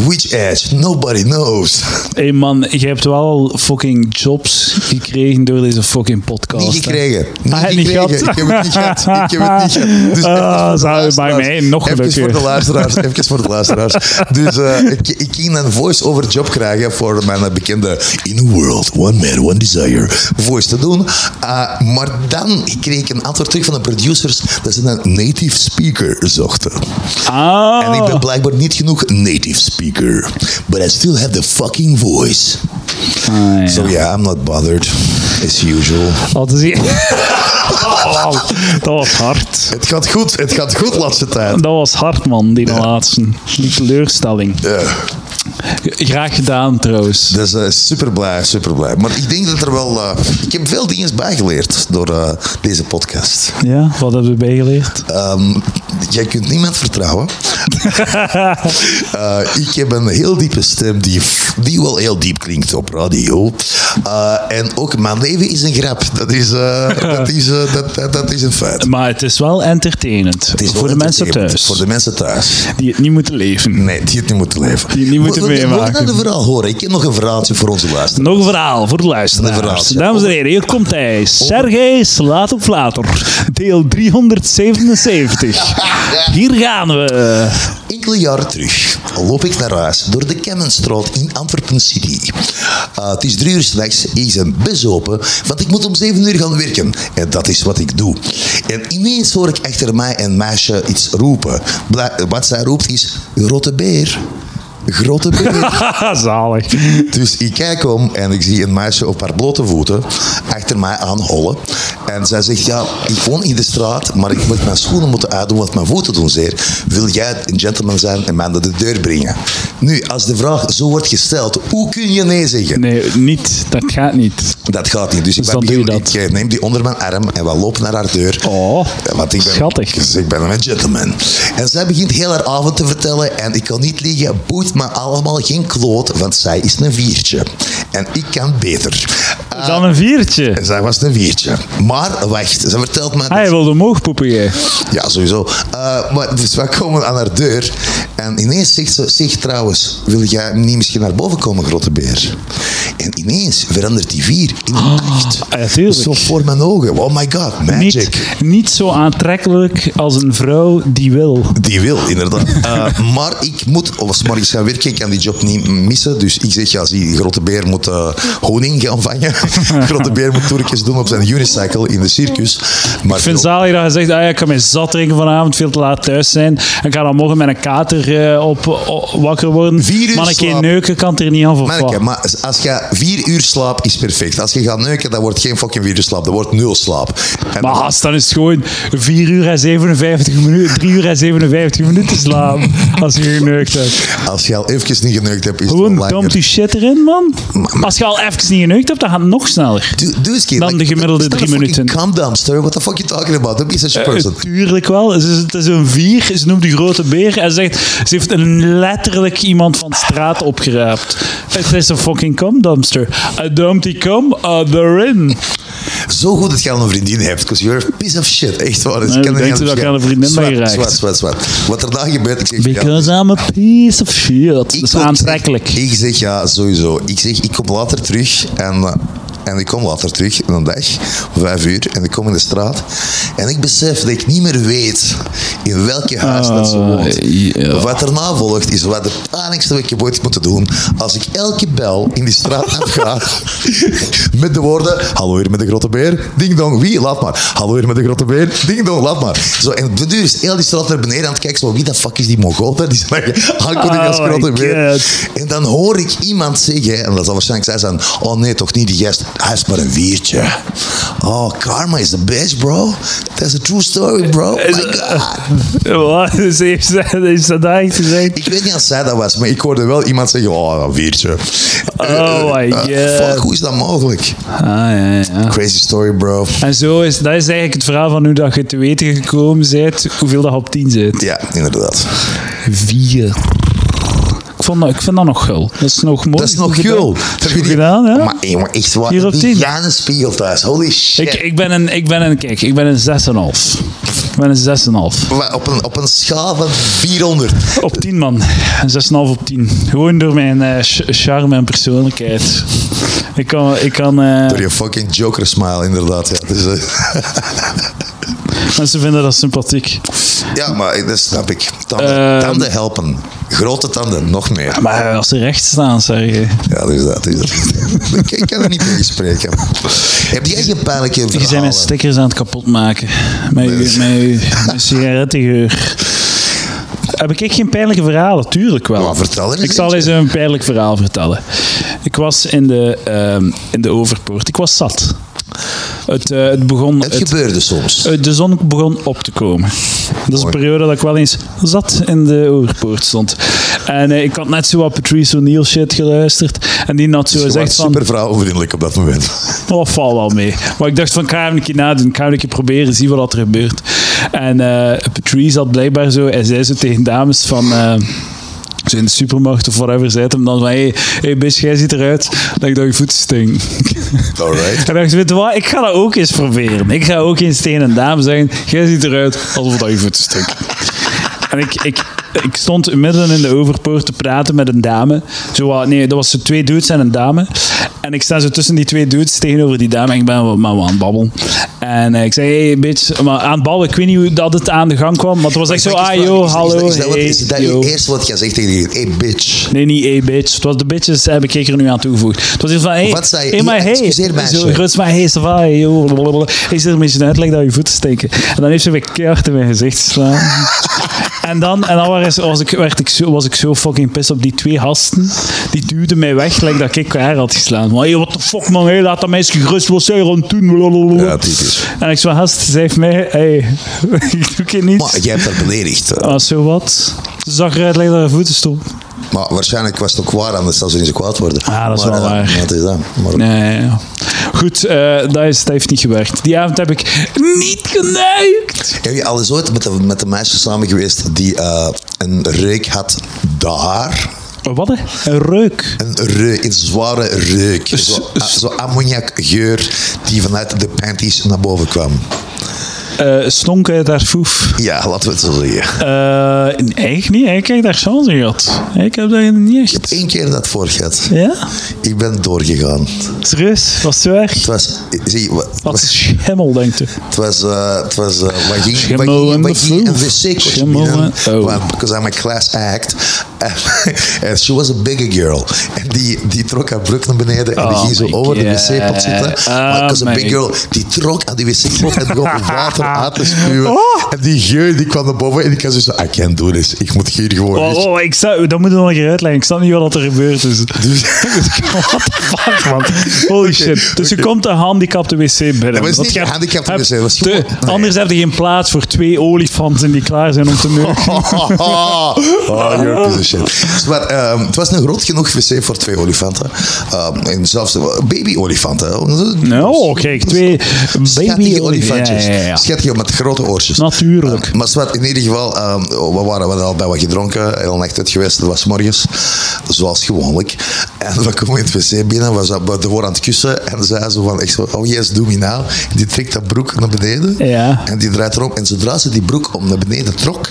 B: Which edge? Nobody knows.
A: Hé man, je hebt wel fucking jobs gekregen door deze fucking podcast.
B: Niet gekregen. Niet
A: Ah, niet
B: gekregen.
A: gehad.
B: Ik heb het niet gehad. Ik heb het niet
A: (laughs) Ah,
B: gehad. Dus even voor de
A: zou je
B: luisteraars.
A: bij mij nog
B: Even
A: gelukkig.
B: voor de luisteraars. Even voor de luisteraars. Dus eh, ik, ik ging een voice-over job krijgen voor mijn eh, bekende In a World, One Man, One Desire voice te doen. Eh, maar dan kreeg ik een antwoord terug van de producers dat ze een native speaker zochten.
A: Ah,
B: En ik ben blijkbaar niet genoeg native speaker. But I still have the fucking voice.
A: Ah, ja.
B: So yeah, I'm not bothered. As usual.
A: Al te (laughs)
B: (laughs)
A: zien. Wauw, dat was hard.
B: Het gaat goed, het gaat goed laatste tijd.
A: Dat was hard, man, die laatste. Die teleurstelling.
B: Ja.
A: graag gedaan trouwens.
B: Dus eh, super blij, super blij. Maar ik denk dat er wel. eh, ik heb veel dingen bijgeleerd door eh, deze podcast.
A: Ja, wat hebben we bijgeleerd?
B: Ehm, jij kunt niemand
A: (laughs)
B: vertrouwen. Eh, ik heb een heel diepe stem die, die wel heel diep klinkt op radio. Eh, en ook mijn leven is een grap. Dat is, eh, dat is, eh, dat, dat, dat is een feit.
A: Maar het is wel entertainend.
B: Het is
A: voor
B: wel
A: de mensen
B: entertainend.
A: thuis.
B: Voor de mensen thuis.
A: Die het niet moeten leven.
B: Nee, die het niet moeten leven.
A: Die het niet moeten
B: We- we- We
A: meemaken.
B: gaan het verhaal horen. Ik heb nog een verhaaltje voor onze luisteraars.
A: Nog een verhaal voor de
B: Een Oh.
A: luisteraars.
B: verhaaltje.
A: Dames en heren, hier komt hij. Sergej Slatovlator, deel
B: (laughs)
A: 377. Hier gaan we. (laughs)
B: Enkele jaren terug loop ik naar huis door de Kemmenstraat in Antwerpen City. Eh, het is drie uur slechts, ik ben best open, want ik moet om zeven uur gaan werken. En dat is wat ik doe. En ineens hoor ik achter mij een meisje iets roepen. Bla- wat zij roept is, grote beer. Grote beer.
A: Haha, Zalig.
B: Dus ik kijk om en ik zie een meisje op haar blote voeten achter mij aanhollen. En zij zegt, ja, ik woon in de straat, maar ik moet mijn schoenen moeten uitdoen, want mijn voeten doen zeer. Wil jij een gentleman zijn en mij naar de deur brengen? Nu, als de vraag zo wordt gesteld, hoe kun je nee zeggen?
A: Nee, niet. Dat gaat niet.
B: Dat gaat niet. Dus,
A: Dus
B: ik,
A: dan doe je
B: begin-
A: dat.
B: ik eh, neem die onder mijn arm en we lopen naar haar deur.
A: Oh,
B: Ja, Want ik ben,
A: schattig.
B: Dus ik ben een gentleman. En zij begint heel haar avond te vertellen. En ik kan niet liegen, boeit me allemaal geen kloot, want zij is een viertje. En ik kan beter. Ah,
A: Dan een viertje.
B: en zij was een viertje. Maar wacht, ze vertelt me...
A: Hij wilde omhoog poepen, jij.
B: Ja, sowieso. Eh, maar dus wij komen aan haar deur. En ineens zegt ze, zeg trouwens, wil jij niet misschien naar boven komen, grote beer? En ineens verandert die vier in een acht.
A: ah, ja, tuurlijk.
B: Zo voor mijn ogen. Oh my god, magic.
A: Niet, niet zo aantrekkelijk als een vrouw die wil.
B: Die wil,
A: (laughs)
B: inderdaad. Eh, maar ik moet, of morgens gaan werken, ik kan die job niet missen. Dus ik zeg, ja, zie, Grote Beer moet eh, honing gaan vangen. (laughs) Grote Beer moet toertjes doen op zijn unicycle in de circus. Maar
A: Ik vind het zalig dat je zegt, ah ja, ik kan mij zat drinken vanavond, veel te laat thuis zijn. En ik ga dan morgen met een kater eh, op, o- wakker worden.
B: Vier uur
A: maar een keer
B: slaap.
A: neuken kan het er niet aan voor
B: Manneke,
A: wat.
B: maar als je vier uur slaapt, is perfect. Als je gaat neuken, dat wordt geen fucking vier uur slaap. Dat wordt nul slaap. En
A: Maar gast, dan is het gewoon 4 uur en 57 minuten, 3 uur en 57 minuten
B: (laughs)
A: slapen als je geneukt hebt.
B: als je al eventjes niet geneukt hebt, is het
A: Gewoon
B: wel
A: dump
B: langer.
A: die shit erin, man. Als je al even niet geneukt hebt, dan gaat het nog sneller.
B: Doe, doe eens een keer.
A: Dan de gemiddelde
B: it's not
A: drie
B: a fucking
A: minuten. Eh,
B: Calm down, sir. What the fuck you talking about? Don't be such a person.
A: Tuurlijk wel. Het is, het is een vier. Ze noemt de grote beer en zegt... Ze heeft een letterlijk iemand van de straat opgeraapt. Het is een fucking cum dumpster. I dumped die cum uh, erin.
B: Zo goed dat je al een vriendin hebt, because you're a piece of shit. Echt waar. Dus
A: Nee,
B: kan er
A: denkt
B: geen
A: u dat ik
B: verschil.
A: aan een vriendin ben
B: Zwart,
A: geraakt?
B: Zwart, zwart, zwart. Wat er dan gebeurt, ik zeg... ja,
A: Because I'm a piece of shit. Dat
B: ik
A: is
B: kom-
A: aantrekkelijk.
B: Ik zeg ja, sowieso. Ik zeg, ik kom later terug en... eh, En ik kom later terug, in een dag, vijf uur, en ik kom in de straat. En ik besef dat ik niet meer weet in welke huis dat ze
A: Ah,
B: woont.
A: ja.
B: Wat erna volgt, is wat het pijnlijkste wat ik heb ooit moeten doen. Als ik elke bel in die straat (laughs) afga, met de woorden, hallo hier met de grote beer, ding dong, wie, laat maar. Hallo hier met de grote beer, ding dong, laat maar. Zo, en de duur is heel die straat naar beneden aan het kijken, zo, wie de fuck is die Mongool? daar? Die zijn aankondiging als
A: Oh my
B: grote beer.
A: God.
B: En dan hoor ik iemand zeggen, en dat zal waarschijnlijk zij zijn, oh nee, toch niet die gast, hij is maar een wiertje. Oh, karma is the best, bro. That's a true story, bro. My God.
A: (laughs) Wat? Ze heeft ze- heeft ze dat echt gezegd?
B: Ik weet niet of zij dat was, maar ik hoorde wel iemand zeggen, oh, een wiertje.
A: Oh my
B: Eh, eh,
A: God.
B: fuck, hoe is dat mogelijk?
A: Ah, ja, ja.
B: Crazy story, bro.
A: En zo is, dat is eigenlijk het verhaal van hoe dat je te weten gekomen bent, hoeveel dat je op 10 zit.
B: Ja, inderdaad.
A: Vier. Ik, vond dat, ik vind dat nog gul. Dat is nog mooi.
B: Dat is nog
A: Goed
B: gul.
A: gedaan. Dat is
B: Dat
A: goed
B: vind ik-
A: gedaan, hè?
B: Maar, eh, maar echt waar,
A: Vier op tien.
B: die Janne spiegel thuis, holy shit.
A: Ik, ik, ben een, ik ben een, kijk, ik ben een 6,5. Ik ben een 6,5.
B: Wa- Op een, op een schaal van 400.
A: Op 10, man. Een 6,5 op 10. Gewoon door mijn eh, ch- charme en persoonlijkheid. Ik kan, ik kan eh,
B: Door je fucking joker smile, inderdaad. Ja, dus, eh, (laughs)
A: mensen vinden dat sympathiek.
B: ja maar eh, dat snap ik. Tanden,
A: Ehm.
B: tanden helpen. Grote tanden, nog meer.
A: Maar eh, als ze recht staan, zeg je.
B: Ja, dus dat. Dus dat. (laughs) ik kan er niet tegen spreken. Heb jij geen pijnlijke verhalen?
A: Je zijn mijn stickers aan het kapotmaken. Mijn, uw- mijn, uw- mijn sigarettengeur. Heb ik echt geen pijnlijke verhalen? Tuurlijk wel.
B: Maar vertel er eens
A: Ik zal eens
B: eentje.
A: een pijnlijk verhaal vertellen. Ik was in de, ehm, in de Overpoort. Ik was zat. Het, eh, het begon...
B: Het,
A: het-
B: gebeurde soms.
A: eh, de zon begon op te komen. Dat is een
B: Mooi.
A: periode dat ik wel eens zat in de overpoort stond. En eh, ik had net zo wat Patrice O'Neill shit geluisterd. En die had zo
B: Je
A: gezegd
B: was
A: van...
B: super vrouwenvriendelijk op dat
A: (laughs)
B: moment.
A: Oh, val wel mee. Maar ik dacht van, ik ga even een keer nadoen. Ik ga even een keer proberen, zien wat er gebeurt. En eh, Patrice had blijkbaar zo... Hij zei zo tegen dames van... eh, zo in de supermarkt of whatever, zei het hem dan van... Hé, hey, hey bitch, jij ziet eruit dat ik dat je voeten stinken.
B: Alright.
A: En dacht, weet je wat? Ik ga dat ook eens proberen. Ik ga ook eens tegen een dame zeggen... Jij ziet eruit alsof dat je voeten stinken. En ik, ik, ik stond midden in de overpoort te praten met een dame. Zo, wat- nee, dat was zo twee dudes en een dame. En ik sta zo tussen die twee dudes tegenover die dame en ik ben wel- maar wel aan het babbelen. En eh, ik zei, hey bitch, maar aan het babbelen, ik weet niet hoe dat het aan de gang kwam, maar het was echt zo, ah yo,
B: Is dat-
A: hallo,
B: Is dat, is dat, wat-
A: hey,
B: is dat
A: yo.
B: je eerste wat je zegt tegen die Hey, bitch.
A: Nee, niet hey bitch. Het was de bitches heb ik er nu aan toegevoegd. Het was iets van hey,
B: Wat zei je?
A: hey, maar
B: Ja,
A: hey.
B: excuseer, meisje.
A: Zo, Ruts, maar hey, ça va, hey, ah, joh, blablabla. Hey, zit er met je uitleg dat je voeten steken. En dan heeft ze weer keihard in mijn gezicht geslaan. (laughs) en dan, en dan was, was, ik, werd ik zo, was ik zo fucking pissed op die twee gasten. Die duwden mij weg, like dat ik haar had geslaan. Maar hey, what the fuck man, hey, laat dat meisje gerust, wat zij er aan het doen? Blablabla.
B: Ja, typisch.
A: En ik zo, gast, ze heeft mij, hey, (laughs) ik doe je
B: Maar
A: niet.
B: jij hebt haar beledigd. hè.
A: Ah, zo wat. Ze zag eruit, like dat haar voeten stond.
B: Maar waarschijnlijk was het ook waar, anders zou ze niet zo kwaad worden.
A: Ah, dat is
B: maar,
A: wel
B: eh,
A: waar.
B: ja, het is dat. Maar,
A: Nee, ja, ja. Goed, eh, dat, is, dat heeft niet gewerkt. Die avond heb ik niet geneukt.
B: Heb je al eens ooit met een met een meisje samen geweest die eh, een reuk had daar?
A: Wat? hè? Een reuk.
B: Een reuk, een zware reuk. Zo, ah, zo ammoniakgeur die vanuit de panties naar boven kwam.
A: Eh stonk uit haar foef.
B: Ja, laten we het zo zeggen.
A: Eh, nee, eigenlijk niet. Ik heb daar chance gehad. Ik heb dat niet echt.
B: Eén keer dat voor gehad.
A: Ja?
B: Ik ben doorgegaan.
A: Serieus? Was het zo erg?
B: Het was, zie, wa-
A: Wat een schimmel, denkt u?
B: het was, eh, het was eh, wat ging, wat
A: Schimmel in
B: ging, wat
A: de
B: ging een
A: vloer.
B: wc-kotje
A: Schimmel,
B: binnen,
A: hè? Oh.
B: want- because I'm a class act. En (laughs) she was a bigger girl. En die, die trok haar broek naar beneden en die
A: Oh
B: ging zo
A: my
B: over de
A: God.
B: wc-pot zitten.
A: Oh
B: maar because
A: my
B: a big girl, die trok aan die wc-pot en begon water aan te spuwen.
A: Oh.
B: En die geur die kwam naar boven en ik was dus zo, I can't do this. Ik moet hier gewoon
A: Oh,
B: weg.
A: oh, ik sta, dat moet ik nog een keer uitleggen. Ik snap niet wat er gebeurd is.
B: (laughs) Dus,
A: What the fuck, man? Holy shit. Dus je komt een handicapte wc binnen.
B: Dat was
A: Want
B: niet
A: je hebt-
B: een gehandicapte
A: hebt
B: wc, dat was
A: te-
B: gewoon- nee.
A: Anders heb je geen plaats voor twee olifanten die klaar zijn
B: (laughs)
A: om te neuken.
B: Oh, oh, you're a piece of shit. Maar ehm, het was een groot genoeg wc voor twee olifanten. Ehm, en zelfs eh, baby-olifanten. hè.
A: Nou, kijk, twee baby
B: Schattige olifantjes.
A: Ja, ja, ja.
B: Schattige met grote oortjes.
A: Natuurlijk.
B: Eh, maar zwart, in ieder geval, ehm, we waren wel al bij wat gedronken. Heel nacht uit geweest, het was morgens. Zoals gewoonlijk. En we komen in het wc binnen, we zaten de woord aan het kussen. En zij zo van, echt zo, oh yes, doe me nou. Die trekt dat broek naar beneden.
A: Ja.
B: En die draait erom. En zodra ze die broek om naar beneden trok...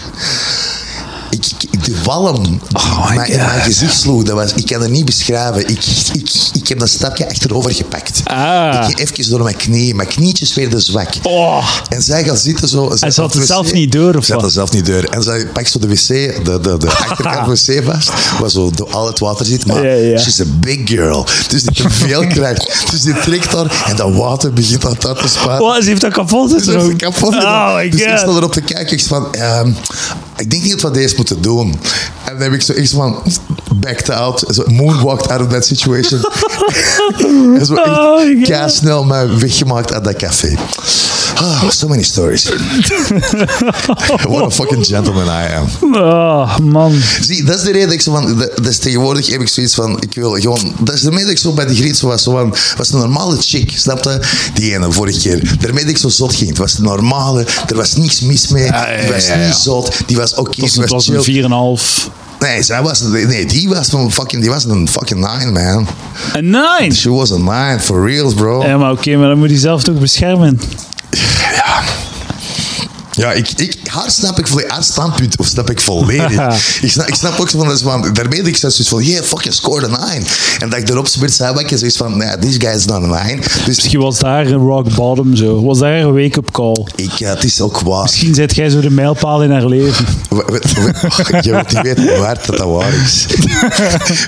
B: Ik, ik- de walm die
A: Oh my
B: mij in mijn
A: God.
B: gezicht sloeg, dat was, ik kan het niet beschrijven. Ik, ik, ik heb dat stapje achterover gepakt.
A: Ah.
B: Ik ging even door mijn knieën. Mijn knietjes werden zwak.
A: Oh.
B: En zij gaat zitten zo. En
A: had het zelf niet door, of
B: Ze
A: wat?
B: had het zelf niet door. En zij pakt zo de wc, de, de, de achterkant wc vast, waar zo door al het water zit. Maar
A: Ja, ja.
B: she's a big girl. Dus die te veel krijgt. Dus die trekt haar en dat water begint aan dat te spuiten.
A: Oh, ze heeft dat kapot
B: Dus dat is
A: gedronken.
B: een kapot.
A: Oh my
B: dus ik stond
A: god.
B: erop te kijken. Ik zei van, ehm, ik denk niet dat we deze moeten doen. En dan heb ik zo echt zo van, backed out. Zo moonwalked out of that
A: (laughs)
B: situation. en zo echt
A: Oh my God.
B: snel mij weggemaakt uit dat café. Ah, so many
A: (laughs)
B: stories. What a fucking gentleman I am.
A: Oh, man.
B: Zie, dat is de reden dat ik zo van... Dat, dat is tegenwoordig heb ik zoiets van... Ik wil gewoon... Dat is de reden dat ik zo bij de Griet zo was. Zo van, was een normale chick, snapte? Die ene vorige keer. Daarmee dat ik zo zot ging. Het was de normale. Er was niks mis mee.
A: Ja, ja,
B: Die was
A: ja, ja.
B: niet zot. Die was oké.
A: Dus
B: die
A: het
B: was
A: was
B: chill.
A: een 4,5.
B: Nee, zij was... Nee, die was een fucking... Die was een fucking nine, man.
A: Een 9.
B: She was a nine. For reals, bro.
A: Ja, maar oké, maar dan moet hij zelf toch beschermen.
B: Ja. Ja, ik, ik, haar snap ik volledig. Haar standpunt of snap ik
A: (laughs)
B: volledig. ik, snap, ik snap ook zo van, dat is van daarmee dat ik zei zoiets van, yeah, fucking scored a nine. En dat ik erop spit, zei wat ik zoiets van, nah, this guy is not a nine. Dus
A: Misschien was daar een rock bottom zo. Was daar een wake-up call.
B: ik, ja, het is ook waar.
A: Misschien zet jij zo de mijlpaal in haar leven.
B: We- we- we- (laughs) Je weet niet weten waar dat dat waar
A: (laughs)
B: is.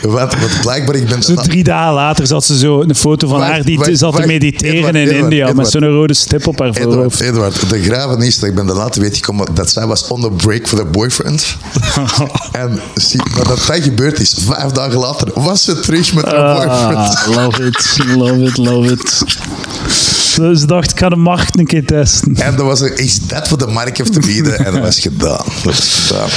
B: want, want blijkbaar, ik ben...
A: Zo drie dagen later zat ze zo een foto van
B: Wacht,
A: haar die
B: wacht,
A: zat te
B: wacht.
A: mediteren
B: Edward,
A: in
B: Edward,
A: India met
B: Edward.
A: zo'n rode stip op haar
B: Edward,
A: voorhoofd.
B: Edward, de graven is dat ik ben de later weet gekomen dat zij was on the break voor haar
A: (laughs)
B: boyfriend. en zie, wat dat dat gebeurd is, vijf dagen later was ze terug met haar boyfriend.
A: Ah, love it, love it, love it. Ze, ze dacht, ik ga de markt een keer testen.
B: En dat was er, is dat wat de markt heeft te bieden? En dat was gedaan. Dat was gedaan.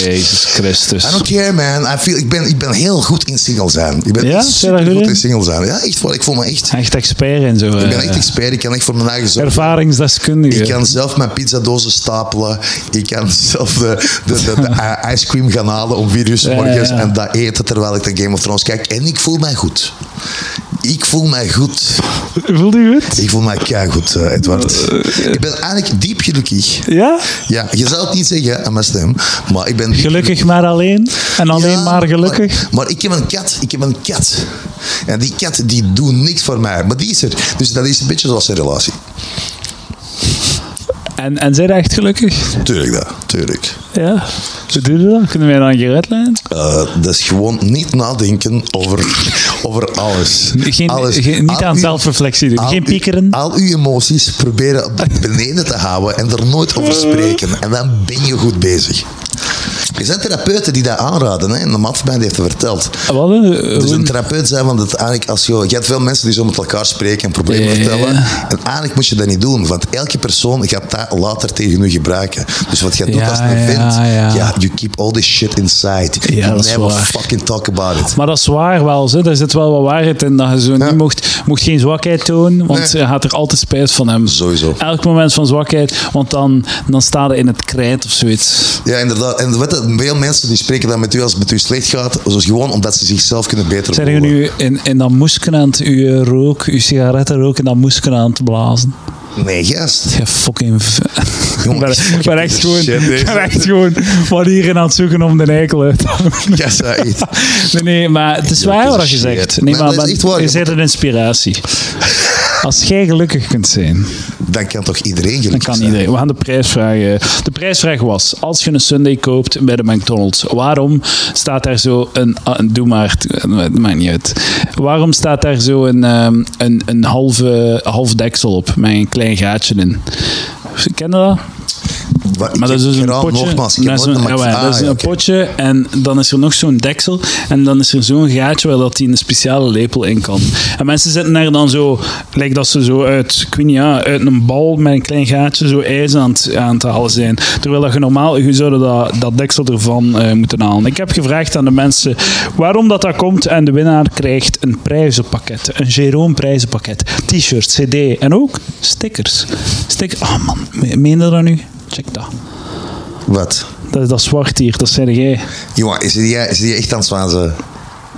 A: Jezus Christus.
B: I don't care, man. I feel, ik, ben, ik ben heel goed in single zijn. Ik ben
A: Ja? Zijn
B: super
A: je daar
B: goed
A: goed
B: in
A: in?
B: single zijn. Ja, echt waar. Ik voel me echt...
A: Echt expert en zo. eh,
B: Ik ben echt expert. Ik kan echt voor mijn eigen zorgen.
A: Ervaringsdeskundige.
B: Ik kan zelf mijn pizzadozen stapelen. Ik kan zelf de, de, de, de i- ice cream gaan halen om vier uur 's
A: ja,
B: morgens
A: ja.
B: en dat eten terwijl ik de Game of Thrones kijk. En ik voel mij goed. Ik voel mij goed.
A: Voelde je het?
B: Ik voel mij keigoed, eh, Edward. Ik ben eigenlijk diep gelukkig.
A: Ja?
B: Ja, je zou het niet zeggen, MSM, maar ik ben diep
A: Gelukkig maar alleen. En alleen
B: ja,
A: maar gelukkig.
B: Maar, maar ik heb een kat, ik heb een kat. En die kat die doet niks voor mij, maar die is er. Dus dat is een beetje zoals een relatie.
A: En, en zij echt gelukkig?
B: Tuurlijk dat, tuurlijk.
A: Ja. Hoe doe je dat? Kunnen wij dan je uitleggen?
B: Eh, dat is gewoon niet nadenken over, over alles.
A: Geen,
B: alles.
A: geen- niet
B: Al
A: aan
B: uw-
A: zelfreflectie doen.
B: al
A: Geen
B: uw-
A: piekeren.
B: Al uw emoties proberen beneden te houden en er nooit over spreken. En dan ben je goed bezig. Er zijn therapeuten die dat aanraden. Hè? En de man van mij die heeft het verteld.
A: Wat? eh,
B: Dus een
A: hoe-
B: therapeut zijn, want het eigenlijk als je, je hebt veel mensen die zo met elkaar spreken en problemen
A: Ja, ja, ja.
B: vertellen. En eigenlijk moet je dat niet doen, want elke persoon gaat dat later tegen je gebruiken. Dus wat je doet
A: Ja,
B: als het een
A: ja,
B: vent, ja.
A: ja.
B: you keep all this shit inside.
A: Ja,
B: you
A: dat is
B: never
A: waar.
B: fucking talk about it.
A: Maar dat is waar wel, hè. daar zit wel wat waarheid in. Dat je zo
B: Ja.
A: niet mocht, mocht geen zwakheid tonen, want
B: Nee.
A: je gaat er altijd spijt van hebben.
B: Sowieso.
A: Elk moment van zwakheid, want dan, dan sta je in het krijt of zoiets.
B: Ja, inderdaad. En weet je, veel mensen die spreken dan met u als het met u slecht gaat, dus gewoon omdat ze zichzelf kunnen beter
A: Zijn jullie
B: voelen.
A: nu in, in dat moesken aan het, uw eh, rook, uw sigarettenrook, in dat moesken aan het blazen?
B: Nee, gast.
A: Ja, fucking... v- (laughs)
B: Jongen,
A: Ik ben, ik ben echt gewoon,
B: shit,
A: (laughs) ik
B: deze.
A: ben echt gewoon manieren aan het zoeken om de eikel uit te houden.
B: Ja, zei het.
A: Nee, nee, maar het is
B: Ja, het
A: waar
B: is
A: wat je
B: shit.
A: zegt.
B: Nee,
A: Nee, maar
B: dat is
A: maar
B: echt waar.
A: je bent een inspiratie. Als jij gelukkig kunt zijn...
B: Dan kan toch iedereen
A: Dat
B: gelukkig
A: kan
B: zijn?
A: iedereen. We gaan de prijsvraag. eh, De prijsvraag was: als je een Sunday koopt bij de McDonald's, waarom staat daar zo een. ah, een- doe maar, het, eh, het maakt niet uit. Waarom staat daar zo een, ehm, een, een halve, half deksel op met een klein gaatje in? Ken je dat?
B: Wat- ik
A: Maar dat is
B: heb
A: dus een
B: geen raam,
A: potje.
B: Nogmaals, ik heb
A: dat is
B: nooit
A: een,
B: een Mac-
A: jawel, dat
B: Ah,
A: is
B: ja,
A: een
B: oké.
A: potje en dan is er nog zo'n deksel en dan is er zo'n gaatje waar dat die een speciale lepel in kan. En mensen zitten daar dan zo, lijkt dat ze zo uit, ik weet niet, ja, uit een bal met een klein gaatje zo ijs aan het, aan het halen zijn. Terwijl dat je normaal, je zou dat, dat deksel ervan eh, moeten halen. Ik heb gevraagd aan de mensen waarom dat dat komt en de winnaar krijgt een prijzenpakket, een Jeroen prijzenpakket, t-shirt, cd en ook stickers. Stickers, ah man, me- meen je dat nu? Check dat.
B: Wat?
A: Dat is dat zwart hier, dat zei jij.
B: Jongen, is die, is die echt aan het zwanzen?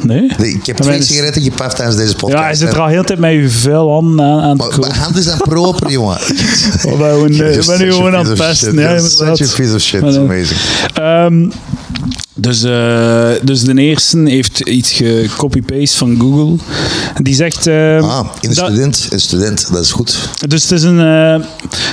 A: Nee?
B: Nee, ik heb
A: Maar
B: twee
A: mijn-
B: sigaretten gepaft tijdens deze podcast.
A: Ja, hij zit er al heel de tijd met je vuil handen aan, aan
B: Maar
A: te
B: mijn
A: kopen.
B: hand is aan proper,
A: (laughs)
B: jongen.
A: Ik
B: (laughs)
A: ben
B: You're
A: nu
B: such a
A: gewoon aan het
B: piece of
A: pesten. Ja,
B: shit. You're
A: inderdaad.
B: Such a piece of shit.
A: Maar,
B: It's
A: eh,
B: amazing.
A: Ehm, dus, eh, dus de eerste heeft iets gecopy-paste van Google. Die zegt... ehm,
B: Ah, in een
A: dat-
B: student. Een student, dat is goed.
A: Dus, het is een, eh,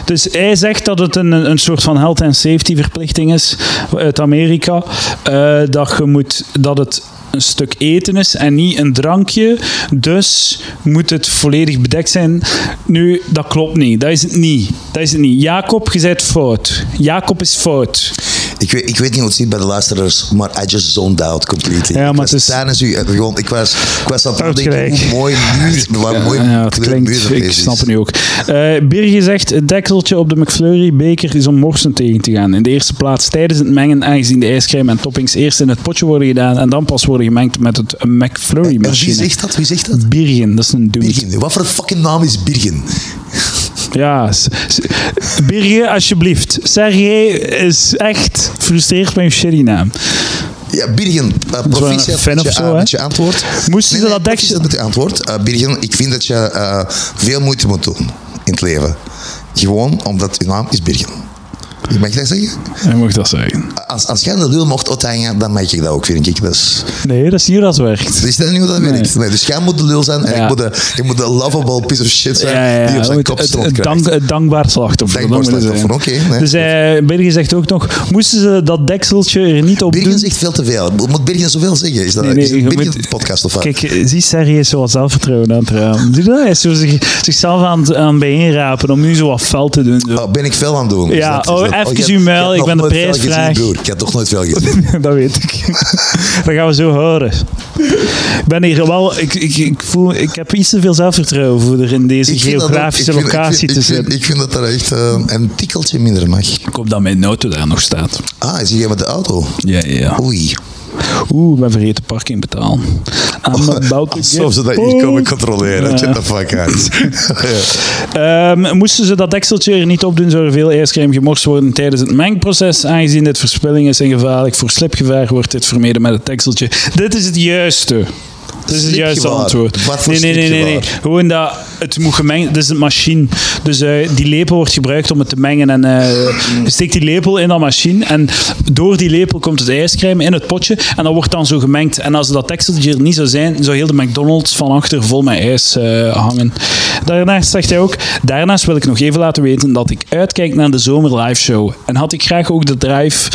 A: dus hij zegt dat het een, een soort van health and safety verplichting is uit Amerika. eh, dat, je moet, dat het een stuk eten is en niet een drankje. Dus moet het volledig bedekt zijn. Nu, dat klopt niet. Dat is het niet. Dat is het niet. Jacob, je bent fout. Jacob is fout.
B: Ik weet, ik weet niet hoe het zit bij de luisteraars, maar I just zoned out completely.
A: Ja,
B: Ik
A: maar
B: was
A: het is-
B: tijdens u, eh, gewoon, ik was, ik was aan het denken,
A: Uitgelijk.
B: hoe mooi muur, wat een mooi
A: Ja, Eh, het
B: kleur muur
A: klinkt,
B: dat
A: ik
B: is.
A: snap het nu ook. Eh Birgje zegt, het dekseltje op de McFlurry-beker is om morsen tegen te gaan. In de eerste plaats tijdens het mengen, aangezien de ijscrème en toppings eerst in het potje worden gedaan en dan pas worden gemengd met het
B: En Eh, wie
A: McFlurry-machine.
B: zegt dat? Wie zegt dat?
A: Birgen, dat is een dude.
B: Birgen. Wat voor fucking naam is Birgen?
A: Ja, s- s- Birgje, alsjeblieft. Sergej is echt gefrustreerd met je shitty naam.
B: Ja, Birgen, eh, proficiat
A: fan
B: met
A: of
B: je,
A: zo,
B: eh,
A: hè?
B: met je antwoord.
A: Moesten ze dat
B: proficiat
A: dekje-
B: met je antwoord. Eh, Birgen, ik vind dat je eh, veel moeite moet doen in het leven. Gewoon omdat je naam is Birgen. Mag ik dat zeggen?
A: Hij mag dat zeggen.
B: Als, als jij de lul mocht uithangen, dan mag ik dat ook, vind ik. Dat is,
A: Nee, dat is hier dat het werkt.
B: is dat niet hoe dat werkt. Nee, dus jij moet de lul zijn en
A: Ja.
B: ik, moet de, ik moet de lovable piece of shit zijn die op
A: hij
B: zijn
A: moet
B: kop
A: het,
B: stond
A: het
B: krijgt.
A: dank- het dankbaar slachtoffer.
B: Dankbaar
A: dat moet het
B: slachtoffer,
A: zijn.
B: oké, nee.
A: dus eh Birgje zegt ook nog, moesten ze dat dekseltje er niet op doen?
B: Birgen zegt veel te veel. Mo- Moet Birgen zoveel zeggen? Is dat,
A: Nee, nee,
B: is dat
A: je
B: Birgen
A: moet-
B: de podcast of wat?
A: Kijk, eh, zie Serge is zo wat zelfvertrouwen aan het raam. Zie je dat? Hij is zo zich, zichzelf aan het aan het bijeenrapen om nu zo wat fel te doen. zo. (laughs)
B: Oh, ben ik veel aan het doen? Is
A: Ja,
B: dat- is
A: oh,
B: dat-
A: even
B: je hebt-
A: uw muil,
B: je hebt
A: ik
B: nog
A: ben de
B: nooit veel
A: (laughs)
B: gezien,
A: prijsvraag.
B: broer. Ik heb toch nooit veel gezien.
A: dat weet ik. dat gaan we zo horen. Ik ben hier wel... Ik, ik, ik, voel, ik heb iets te veel zelfvertrouwen voor er in deze
B: vind dat ook-
A: geografische
B: ik vind- ik
A: locatie
B: vind-
A: te
B: ik vind-
A: zitten.
B: Ik vind dat daar echt eh, een tikkeltje minder mag.
A: Ik hoop dat mijn auto daar nog staat.
B: Ah, zie jij met de auto?
A: Ja, ja, ja.
B: Oei.
A: Oeh, ik ben vergeten parking betalen. I'm about to get
B: Oh, (laughs) Alsof ze dat hier komen
A: poked.
B: controleren.
A: Ja.
B: Get the fuck out. (laughs)
A: Ehm, moesten ze dat dekseltje er niet op doen, zou er veel ijscream gemorst worden tijdens het mengproces. Aangezien dit verspilling is en gevaarlijk voor slipgevaar, wordt dit vermeden met het dekseltje. Dit is het juiste. Dit is het juiste
B: Slipgevaar.
A: antwoord.
B: Wat voor
A: nee, nee, nee, nee, nee.
B: slipgevaar?
A: Gewoon dat het moet gemengd. Dit is een machine. Dus eh, die lepel wordt gebruikt om het te mengen. En eh, je steekt die lepel in dat machine. En door die lepel komt het ijscream in het potje. En dat wordt dan zo gemengd. En als dat dekseltje er niet zou zijn, zou heel de McDonald's van achter vol met ijs eh, hangen. Daarnaast zegt hij ook: Daarnaast wil ik nog even laten weten dat ik uitkijk naar de zomer live show. En had ik graag ook de drive.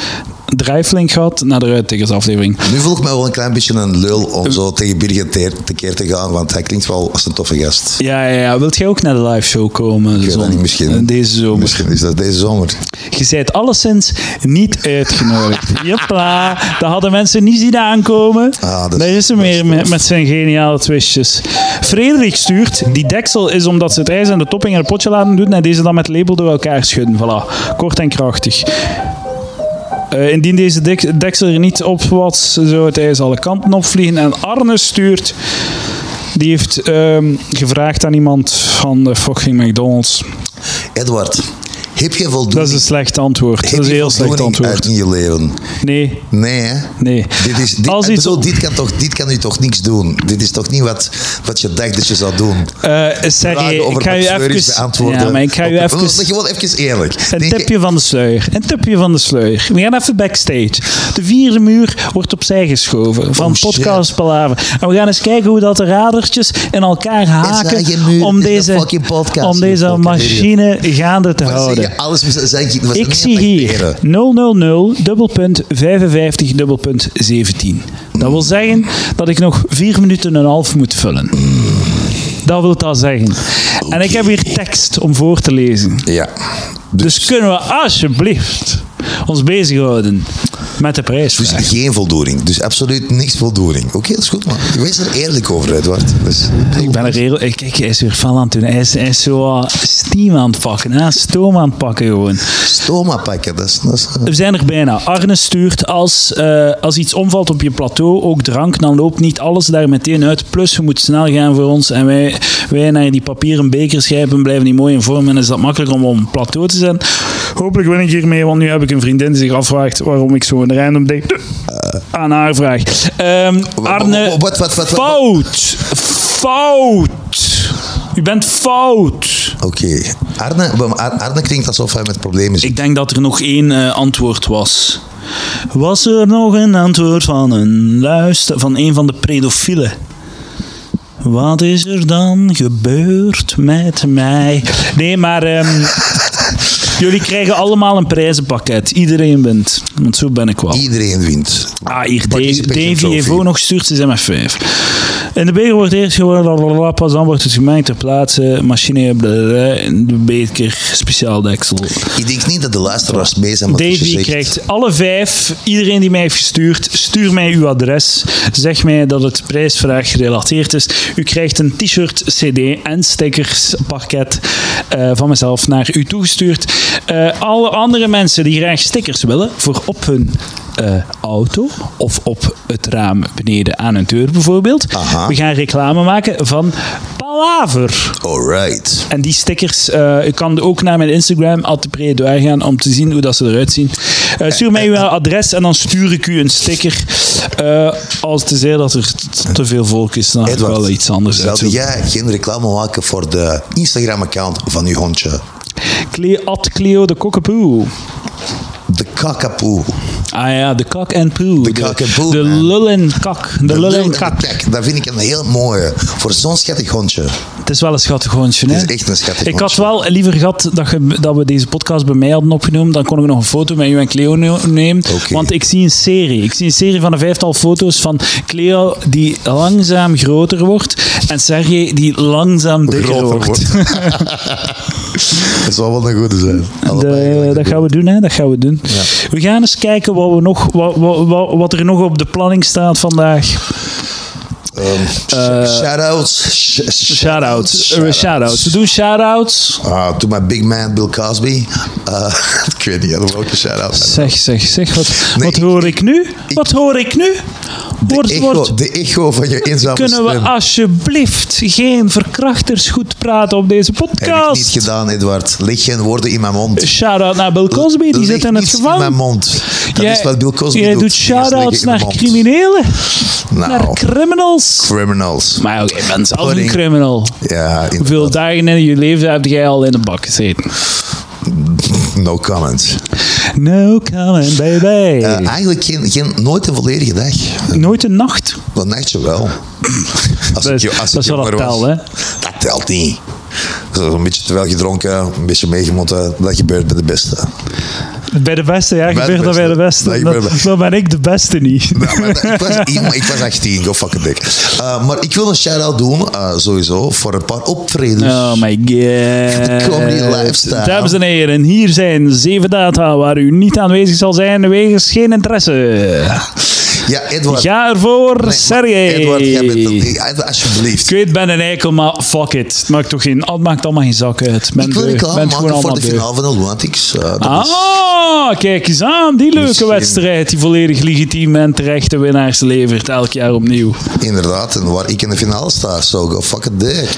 A: Drijflink gehad naar de Ruittiggers aflevering.
B: Nu voel ik me wel een klein beetje een lul om zo tegen Birgit teer- tekeer te gaan, want hij klinkt wel als een toffe gast.
A: Ja, ja, ja. Wilt jij ook naar de live show komen?
B: weet dat
A: zon-
B: niet, misschien.
A: Deze zomer.
B: Misschien is dat deze zomer.
A: Je zijt alleszins niet uitgenodigd. Jepla, dat hadden mensen niet zien aankomen.
B: Ah, dat is-
A: Daar is hem
B: dat is
A: weer met, met zijn geniale twistjes. Frederik stuurt, die deksel is omdat ze het ijs en de topping in een potje laten doen en deze dan met label door elkaar schudden. Voilà, kort en krachtig. Eh, indien deze dek- deksel er niet op was, zou het ijs alle kanten opvliegen. En Arne stuurt, die heeft ehm, gevraagd aan iemand van de fucking McDonald's.
B: Edward, heb je voldoening?
A: Dat is een slecht antwoord.
B: heb
A: Dat is een
B: je
A: heel slecht
B: voldoening
A: antwoord.
B: uit in je leven.
A: Nee,
B: Nee, hè?
A: nee.
B: Dit, is, dit,
A: Als
B: ik
A: iets
B: bedoel,
A: op-
B: dit, kan toch, dit kan u toch niks doen? Dit is toch niet wat, wat je dacht dat je zou doen?
A: Eh Sergej,
B: Vragen over
A: ik ga je
B: McFlurries
A: even...
B: beantwoorden.
A: Ja, maar ik ga je
B: Op-
A: even...
B: Gewoon even eerlijk.
A: Een
B: Denk je-
A: tipje van de sluier. Een tipje van de sluier. We gaan even backstage. De vierde muur wordt opzij geschoven van
B: Oh, shit.
A: podcast Palaver. En we gaan eens kijken hoe dat de radertjes in elkaar haken
B: zijn geen muren,
A: om
B: het is een
A: deze,
B: fucking podcast,
A: om
B: je
A: deze
B: fucking
A: machine gaande te
B: Wat zeg
A: houden.
B: je? Alles was, zijn, was
A: Ik
B: niet
A: zie
B: affecteren.
A: hier 000 dubbelpunt 55 dubbelpunt 17. Dat wil zeggen dat ik nog vier minuten en een half moet vullen. Dat wil dat zeggen. En ik heb hier tekst om voor te lezen.
B: Ja.
A: Dus kunnen we alsjeblieft ons bezighouden met de
B: Dus
A: prijsvraag.
B: geen voldoening. Dus absoluut niks voldoening. Oké, dat is goed, man. Wees er eerlijk over, Edward. Dus,
A: Ik ben er heel... eh, Kijk, hij is weer fel aan het doen. Hij is, hij is zo ah, steam aan het pakken. Hè? Stoom aan het pakken gewoon.
B: Stoma pakken, dat is... Dat is
A: We zijn er bijna. Arne stuurt als, eh, als iets omvalt op je plateau, ook drank, dan loopt niet alles daar meteen uit. Plus, je moet snel gaan voor ons. En wij, wij naar die papieren bekers grijpen, blijven die mooi in vorm. En is dat makkelijk om op een plateau te zijn. Hopelijk win ik hiermee, want nu heb ik een vriendin die zich afvraagt waarom ik zo'n random ding eh, aan haar vraag. Ehm, Arne,
B: Wat, wat, wat, wat?
A: fout! Fout! U bent fout!
B: Oké. Arne, maar Ar- Arne klinkt alsof hij met problemen zit.
A: Ik denk dat er nog één eh, antwoord was. Was er nog een antwoord van een luister van een van de pedofielen? Wat is er dan gebeurd met mij? Nee, maar ehm, (laughs) jullie krijgen allemaal een prijzenpakket. Iedereen wint. Want zo ben ik wel.
B: Iedereen wint.
A: Ah, hier, Dave,
B: Participation
A: Davy
B: trophy.
A: Evo nog stuurt, ze zijn met vijf. In de beker wordt eerst geworden, pas dan wordt het gemengd ter plaatse. Machine, blablabla, in de beker, speciaal deksel.
B: Ik denk niet dat de luisteraars mee zijn met wat je
A: Davy
B: zegt.
A: krijgt alle vijf. Iedereen die mij heeft gestuurd, stuur mij uw adres. Zeg mij dat het prijsvraag gerelateerd is. U krijgt een t-shirt, cd en stickerspakket eh, van mezelf naar u toegestuurd. Eh, alle andere mensen die graag stickers willen voor op hun eh, auto of op het raam beneden aan hun deur bijvoorbeeld.
B: Aha.
A: We gaan reclame maken van Palaver.
B: Alright.
A: En die stickers, eh ik kan ook naar mijn Instagram, Altepredoir gaan, om te zien hoe dat ze eruit zien. Eh, stuur mij uw adres en dan stuur ik u een sticker. Eh, als te zeggen dat er t- te veel volk is, dan ga ik
B: Edward,
A: wel iets anders uit.
B: zou jij geen reclame maken voor de Instagram-account van uw hondje?
A: Cleo, at Cleo de Kokkepoe.
B: De kakapoe.
A: Ah ja, de kak en poe.
B: De kak en poe,
A: De
B: man.
A: lul en kak. De lul en kak.
B: Kijk, dat vind ik een heel mooie. Voor zo'n schattig hondje.
A: Het is wel een schattig hondje, hè?
B: Het is echt een schattig
A: Ik had
B: hondje.
A: wel liever gehad dat, ge- dat we deze podcast bij mij hadden opgenomen. Dan kon ik nog een foto met u en Cleo ne- nemen.
B: Oké.
A: Want ik zie een serie. Ik zie een serie van een vijftal foto's van Cleo die langzaam groter wordt. En Sergej die langzaam dikker
B: Groter
A: wordt.
B: wordt.
A: (laughs)
B: Dat zou wel een goede zijn.
A: De-
B: Allebei gelijk
A: dat
B: goed.
A: gaan we doen, hè? Dat gaan we doen. We gaan eens kijken wat, we nog, wat, wat, wat er nog op de planning staat vandaag.
B: Ehm,
A: eh,
B: shoutouts. Sh- sh-
A: Shoutouts. Eh, Shoutouts. We doen shoutouts.
B: Ah, toen mijn big man Bill Cosby. Eh, (laughs) ik weet niet hè, welke shout-out.
A: Zeg, zeg, zeg. Wat,
B: Nee,
A: wat
B: ik-
A: hoor ik nu? Wat hoor ik nu? Wordt,
B: De
A: wordt.
B: echo, de echo van je eenzame
A: Kunnen we
B: stem.
A: alsjeblieft geen verkrachters goed praten op deze
B: Heb ik niet
A: podcast?
B: gedaan, Edward. Leg geen woorden in mijn mond.
A: Shout-out naar Bill Cosby, die
B: Leg
A: zit in het
B: niets in mijn
A: gevangen.
B: mond. Dat is wat Bill Cosby
A: jij
B: doet.
A: doet
B: Vingers
A: shout-outs
B: leggen in
A: naar
B: de mond.
A: criminelen,
B: Nou.
A: naar criminals.
B: Criminals.
A: Maar oké, ik ben zelf een
B: Pudding.
A: criminal.
B: Ja, in-
A: Hoeveel dagen in je leven heb jij al in de bak gezeten?
B: no comment.
A: No comment, baby.
B: Eh, eigenlijk geen, geen, nooit een volledige dag.
A: Nooit een nacht.
B: Dan dacht je
A: (clears throat)
B: wel. Als
A: Dat is-
B: jo- als
A: dat is wel
B: jonger
A: dat
B: was.
A: tel, hè?
B: Dat telt niet. Zo Een beetje te veel gedronken, een beetje meegemotten. Dat gebeurt bij de beste.
A: Bij de beste, ja,
B: de
A: gebeurt dat bij
B: beste.
A: de
B: Nee,
A: beste.
B: ik
A: Dan,
B: ben bij-
A: dan ben ik de beste
B: (laughs)
A: niet.
B: Nou, maar ik, was, ik, maar ik was 18, go fucking dik. Eh, maar ik wil een shout-out doen, eh, sowieso, voor een paar optredens.
A: Oh my god.
B: (laughs) comedy lifestyle.
A: Dames en heren, hier zijn zeven data waar u niet aanwezig zal zijn wegens geen interesse.
B: Ja, Edward.
A: Ga ervoor,
B: Nee,
A: Sergej.
B: Edward, jij bent een- Edward,
A: Ik
B: alsjeblieft.
A: weet, ik ben een eikel, maar fuck it. Het maakt toch geen, het maakt allemaal geen zak uit. Men
B: Ik wil
A: deugd,
B: reclame
A: men gewoon
B: maken voor
A: allemaal
B: de
A: deugd.
B: finale van de Lunatics. eh, dat is-
A: Ah, kijk eens aan. Die leuke
B: Misschien.
A: wedstrijd die volledig legitiem en terechte winnaars levert elk jaar opnieuw.
B: Inderdaad, en waar ik oh, in de finale sta. Zo, go fucking dik.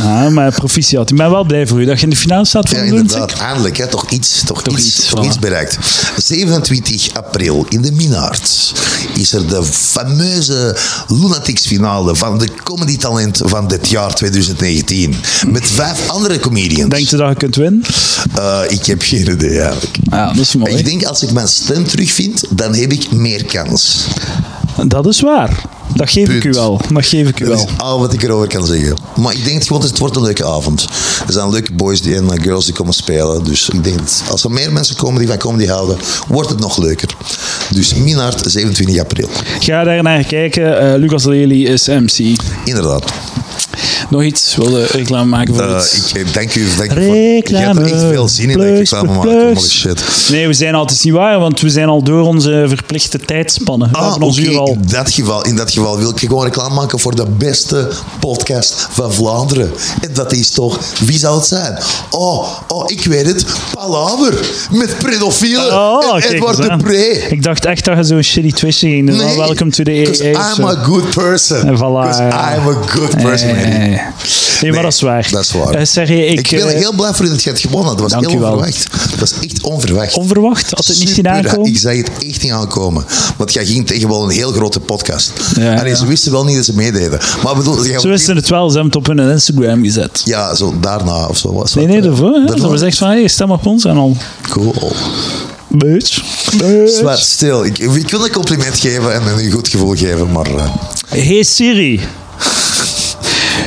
A: Ah, maar proficiat. Ik ben wel blij voor u dat je in de finale staat
B: Ja,
A: van de
B: inderdaad. Eindelijk, hè, toch iets, toch
A: Toch
B: iets,
A: iets,
B: toch
A: voilà.
B: iets bereikt. 27 april in de Minaard is er de fameuze Lunatics finale van de Comedy Talent van dit jaar 2019. Met vijf andere comedians.
A: Denk je dat je kunt winnen?
B: Eh, ik heb geen idee eigenlijk.
A: Ja, dat is
B: Ik
A: mooi.
B: denk als ik mijn stem terugvind, dan heb ik meer kans.
A: Dat is waar. Dat geef ik u
B: Punt.
A: wel. Dat geef ik u
B: Dat
A: wel.
B: is al wat ik erover kan zeggen. Maar ik denk het gewoon, het wordt een leuke avond. Er zijn leuke boys die, en eh, girls die komen spelen. Dus ik denk, dat als er meer mensen komen die van comedy houden, wordt het nog leuker. Dus Minard, 27 april.
A: Ga daar naar kijken. Eh, Lucas Lely is MC.
B: Inderdaad.
A: Nog iets? Wilde reclame maken voor
B: Eh,
A: iets?
B: ik dank u. Dank u voor- Je hebt
A: Reclame.
B: er echt veel zin in dat ik
A: Plus,
B: reclame maak.
A: plus, plus.
B: Holy shit.
A: Nee, we zijn altijd niet waar, want we zijn al door onze verplichte tijdspannen. We
B: Ah,
A: hebben ons
B: oké,
A: uur al.
B: in, dat geval, in dat geval wil ik gewoon reclame maken voor de beste podcast van Vlaanderen. En dat is toch, wie zou het zijn? Oh, oh ik weet het, Palaver met pedofielen
A: Oh,
B: en
A: kijk
B: Edward
A: eens aan.
B: Dupré.
A: Ik dacht echt dat je zo'n shitty twistje ging doen.
B: Nee,
A: Welcome to the
B: Because
A: AA.
B: I'm a good person.
A: eh. En voilà,
B: Because
A: ja.
B: I'm a good person.
A: Nee,
B: Henry.
A: nee, maar dat is waar.
B: Dat is waar.
A: Eh, Sergej, ik,
B: ik ben
A: eh,
B: heel blij voor dat je hebt gewonnen. Dat was
A: Dank
B: heel
A: u wel.
B: onverwacht. Dat was echt onverwacht.
A: onverwacht, had het niet zien
B: Super,
A: aankomen.
B: Ik zag het echt niet aankomen. Want jij ging tegen wel een heel grote podcast.
A: Ja,
B: Allee,
A: ja.
B: ze wisten wel niet dat ze meededen. Maar ik bedoel, jij-
A: Ze wisten het wel, ze hebben het op hun Instagram gezet.
B: Ja, zo daarna of zo. Was
A: Nee, nee, daarvoor. Hè? Dat
B: Daarvoor?
A: was echt van, hey, stem op ons en al.
B: Cool.
A: Bitch.
B: Maar stil, ik, ik wil een compliment geven en een goed gevoel geven, maar... eh,
A: Hey Siri.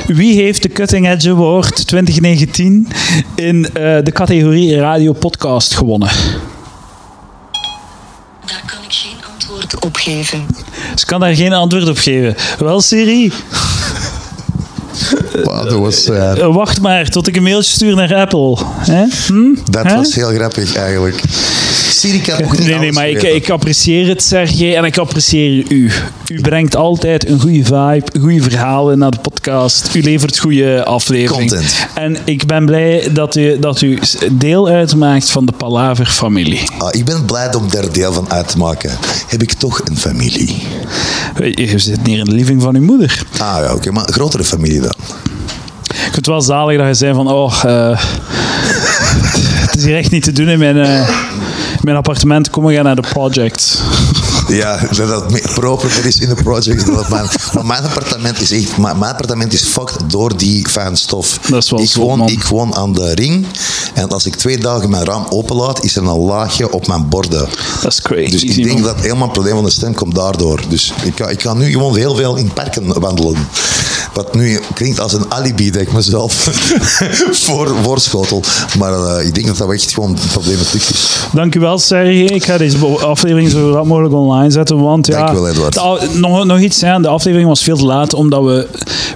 A: Wie heeft de Cutting Edge Award 2019 in eh, de categorie Radio Podcast gewonnen? Dus
C: Daar kan ik geen antwoord op geven.
A: Ze kan daar geen antwoord op geven. Wel Siri,
B: wauw, dat was, eh,
A: eh, wacht maar tot ik een mailtje stuur naar Apple. hè? Hm?
B: dat
A: Hè?
B: was heel grappig eigenlijk. Siri kan ook niet
A: Nee, nee,
B: alles
A: maar ik,
B: weten.
A: ik apprecieer het, Sergej, en ik apprecieer u. U brengt altijd een goede vibe, goede verhalen naar de podcast. U levert goede aflevering.
B: Content.
A: En ik ben blij dat u, dat u s- deel uitmaakt van de Palaver-familie.
B: Ah, ik ben blij om daar deel van uit te maken. Heb ik toch een familie?
A: Je je zit hier in de living van uw moeder.
B: Ah ja, oké, maar een grotere familie dan.
A: Ik vind het wel zalig dat je zei van, oh, eh, het is hier echt niet te doen in mijn, eh, in mijn appartement. Kom, we gaan naar de project.
B: Ja, dat dat meer proper is in de project. dan Dat mijn, maar mijn appartement is echt... Mijn, mijn appartement is fucked door die fijnstof.
A: Dat is wel
B: ik,
A: zot,
B: woon,
A: man.
B: ik woon aan de ring. En als ik twee dagen mijn raam openlaat, is er een laagje op mijn borden.
A: Dat is crazy.
B: Dus ik denk dat helemaal het probleem van de stem komt daardoor. Dus ik kan, ik kan nu gewoon heel veel in parken wandelen. Wat nu klinkt als een alibi, denk ik mezelf, (laughs) voor voorschotel. Maar eh, ik denk dat dat wel echt gewoon het probleem met lucht is.
A: Dankjewel Sergej. Ik ga deze bo- aflevering zo rap mogelijk online zetten. Want ja,
B: Dankjewel, Edward.
A: de a- nog, nog iets, hè. de aflevering was veel te laat. Omdat we,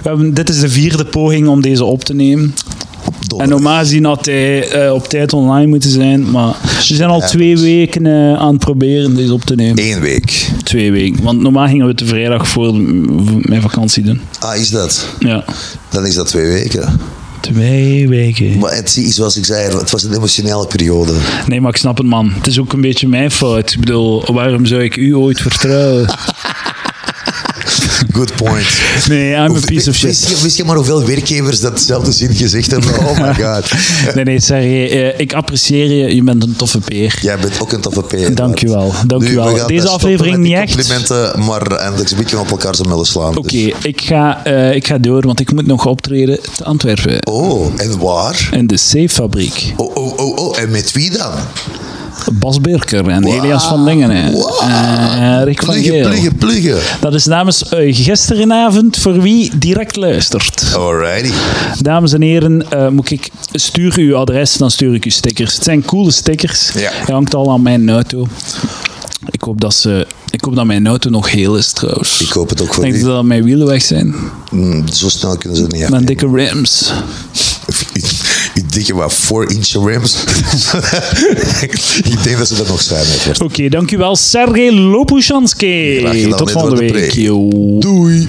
A: we hebben, dit is de vierde poging om deze op te nemen.
B: donder.
A: En normaal gezien had hij eh, op tijd online moeten zijn, maar we zijn al twee
B: dus-
A: weken eh, aan het proberen deze op te nemen.
B: Eén week.
A: Twee weken, want normaal gingen we het de vrijdag voor m- mijn vakantie doen.
B: Ah, is dat?
A: Ja,
B: Dan is dat twee weken.
A: twee weken.
B: Maar het is zoals ik zei, het was een emotionele periode.
A: Nee, maar ik snap het man. Het is ook een beetje mijn fout. Ik bedoel, waarom zou ik u ooit
B: (laughs)
A: vertrouwen?
B: Good point.
A: Nee, I'm a
B: Hoeveel-
A: piece of shit.
B: Wist je, wist je maar hoeveel werkgevers datzelfde zin gezegd hebben? Oh
A: (laughs)
B: my god.
A: Nee, nee, Sergej, eh, ik apprecieer je. Je bent een toffe peer.
B: Jij bent ook een toffe P.
A: Dankjewel, dankjewel.
B: Nu, we gaan
A: Deze
B: stoppen
A: aflevering
B: met die
A: niet echt.
B: complimenten, maar eindelijk een beetje op elkaar zijn willen slaan.
A: Oké,
B: Dus-
A: ik, ga, eh, ik ga door, want ik moet nog optreden te Antwerpen.
B: Oh, en waar?
A: In de C-fabriek.
B: Oh, oh, oh, oh, en met wie dan?
A: Bas Birker en Elias van Dingen. en
B: Wow.
A: eh, Rick van
B: Pluggen,
A: Geel.
B: pluggen, pluggen.
A: Dat is namens eh, gisterenavond voor wie direct luistert.
B: Alrighty.
A: Dames en heren, eh, moet ik stuur uw adres, dan stuur ik u stickers. Het zijn coole stickers.
B: Ja.
A: Hij hangt al aan mijn auto. Ik hoop dat, ze, ik hoop dat mijn auto nog heel is trouwens.
B: Ik hoop het ook voor
A: Ik denk
B: u.
A: dat mijn wielen weg zijn.
B: Mm, Zo snel kunnen ze het niet
A: Mijn
B: afnemen.
A: dikke rims.
B: Ik denk je maar 4 inch rims. (laughs) ik denk dat ze dat nog zijn. hè.
A: Oké, dankjewel Sergej Lopushansky.
B: Graag gedaan,
A: Tot
B: dit wordt
A: volgende week.
B: de preek.
A: Yo.
B: Doei.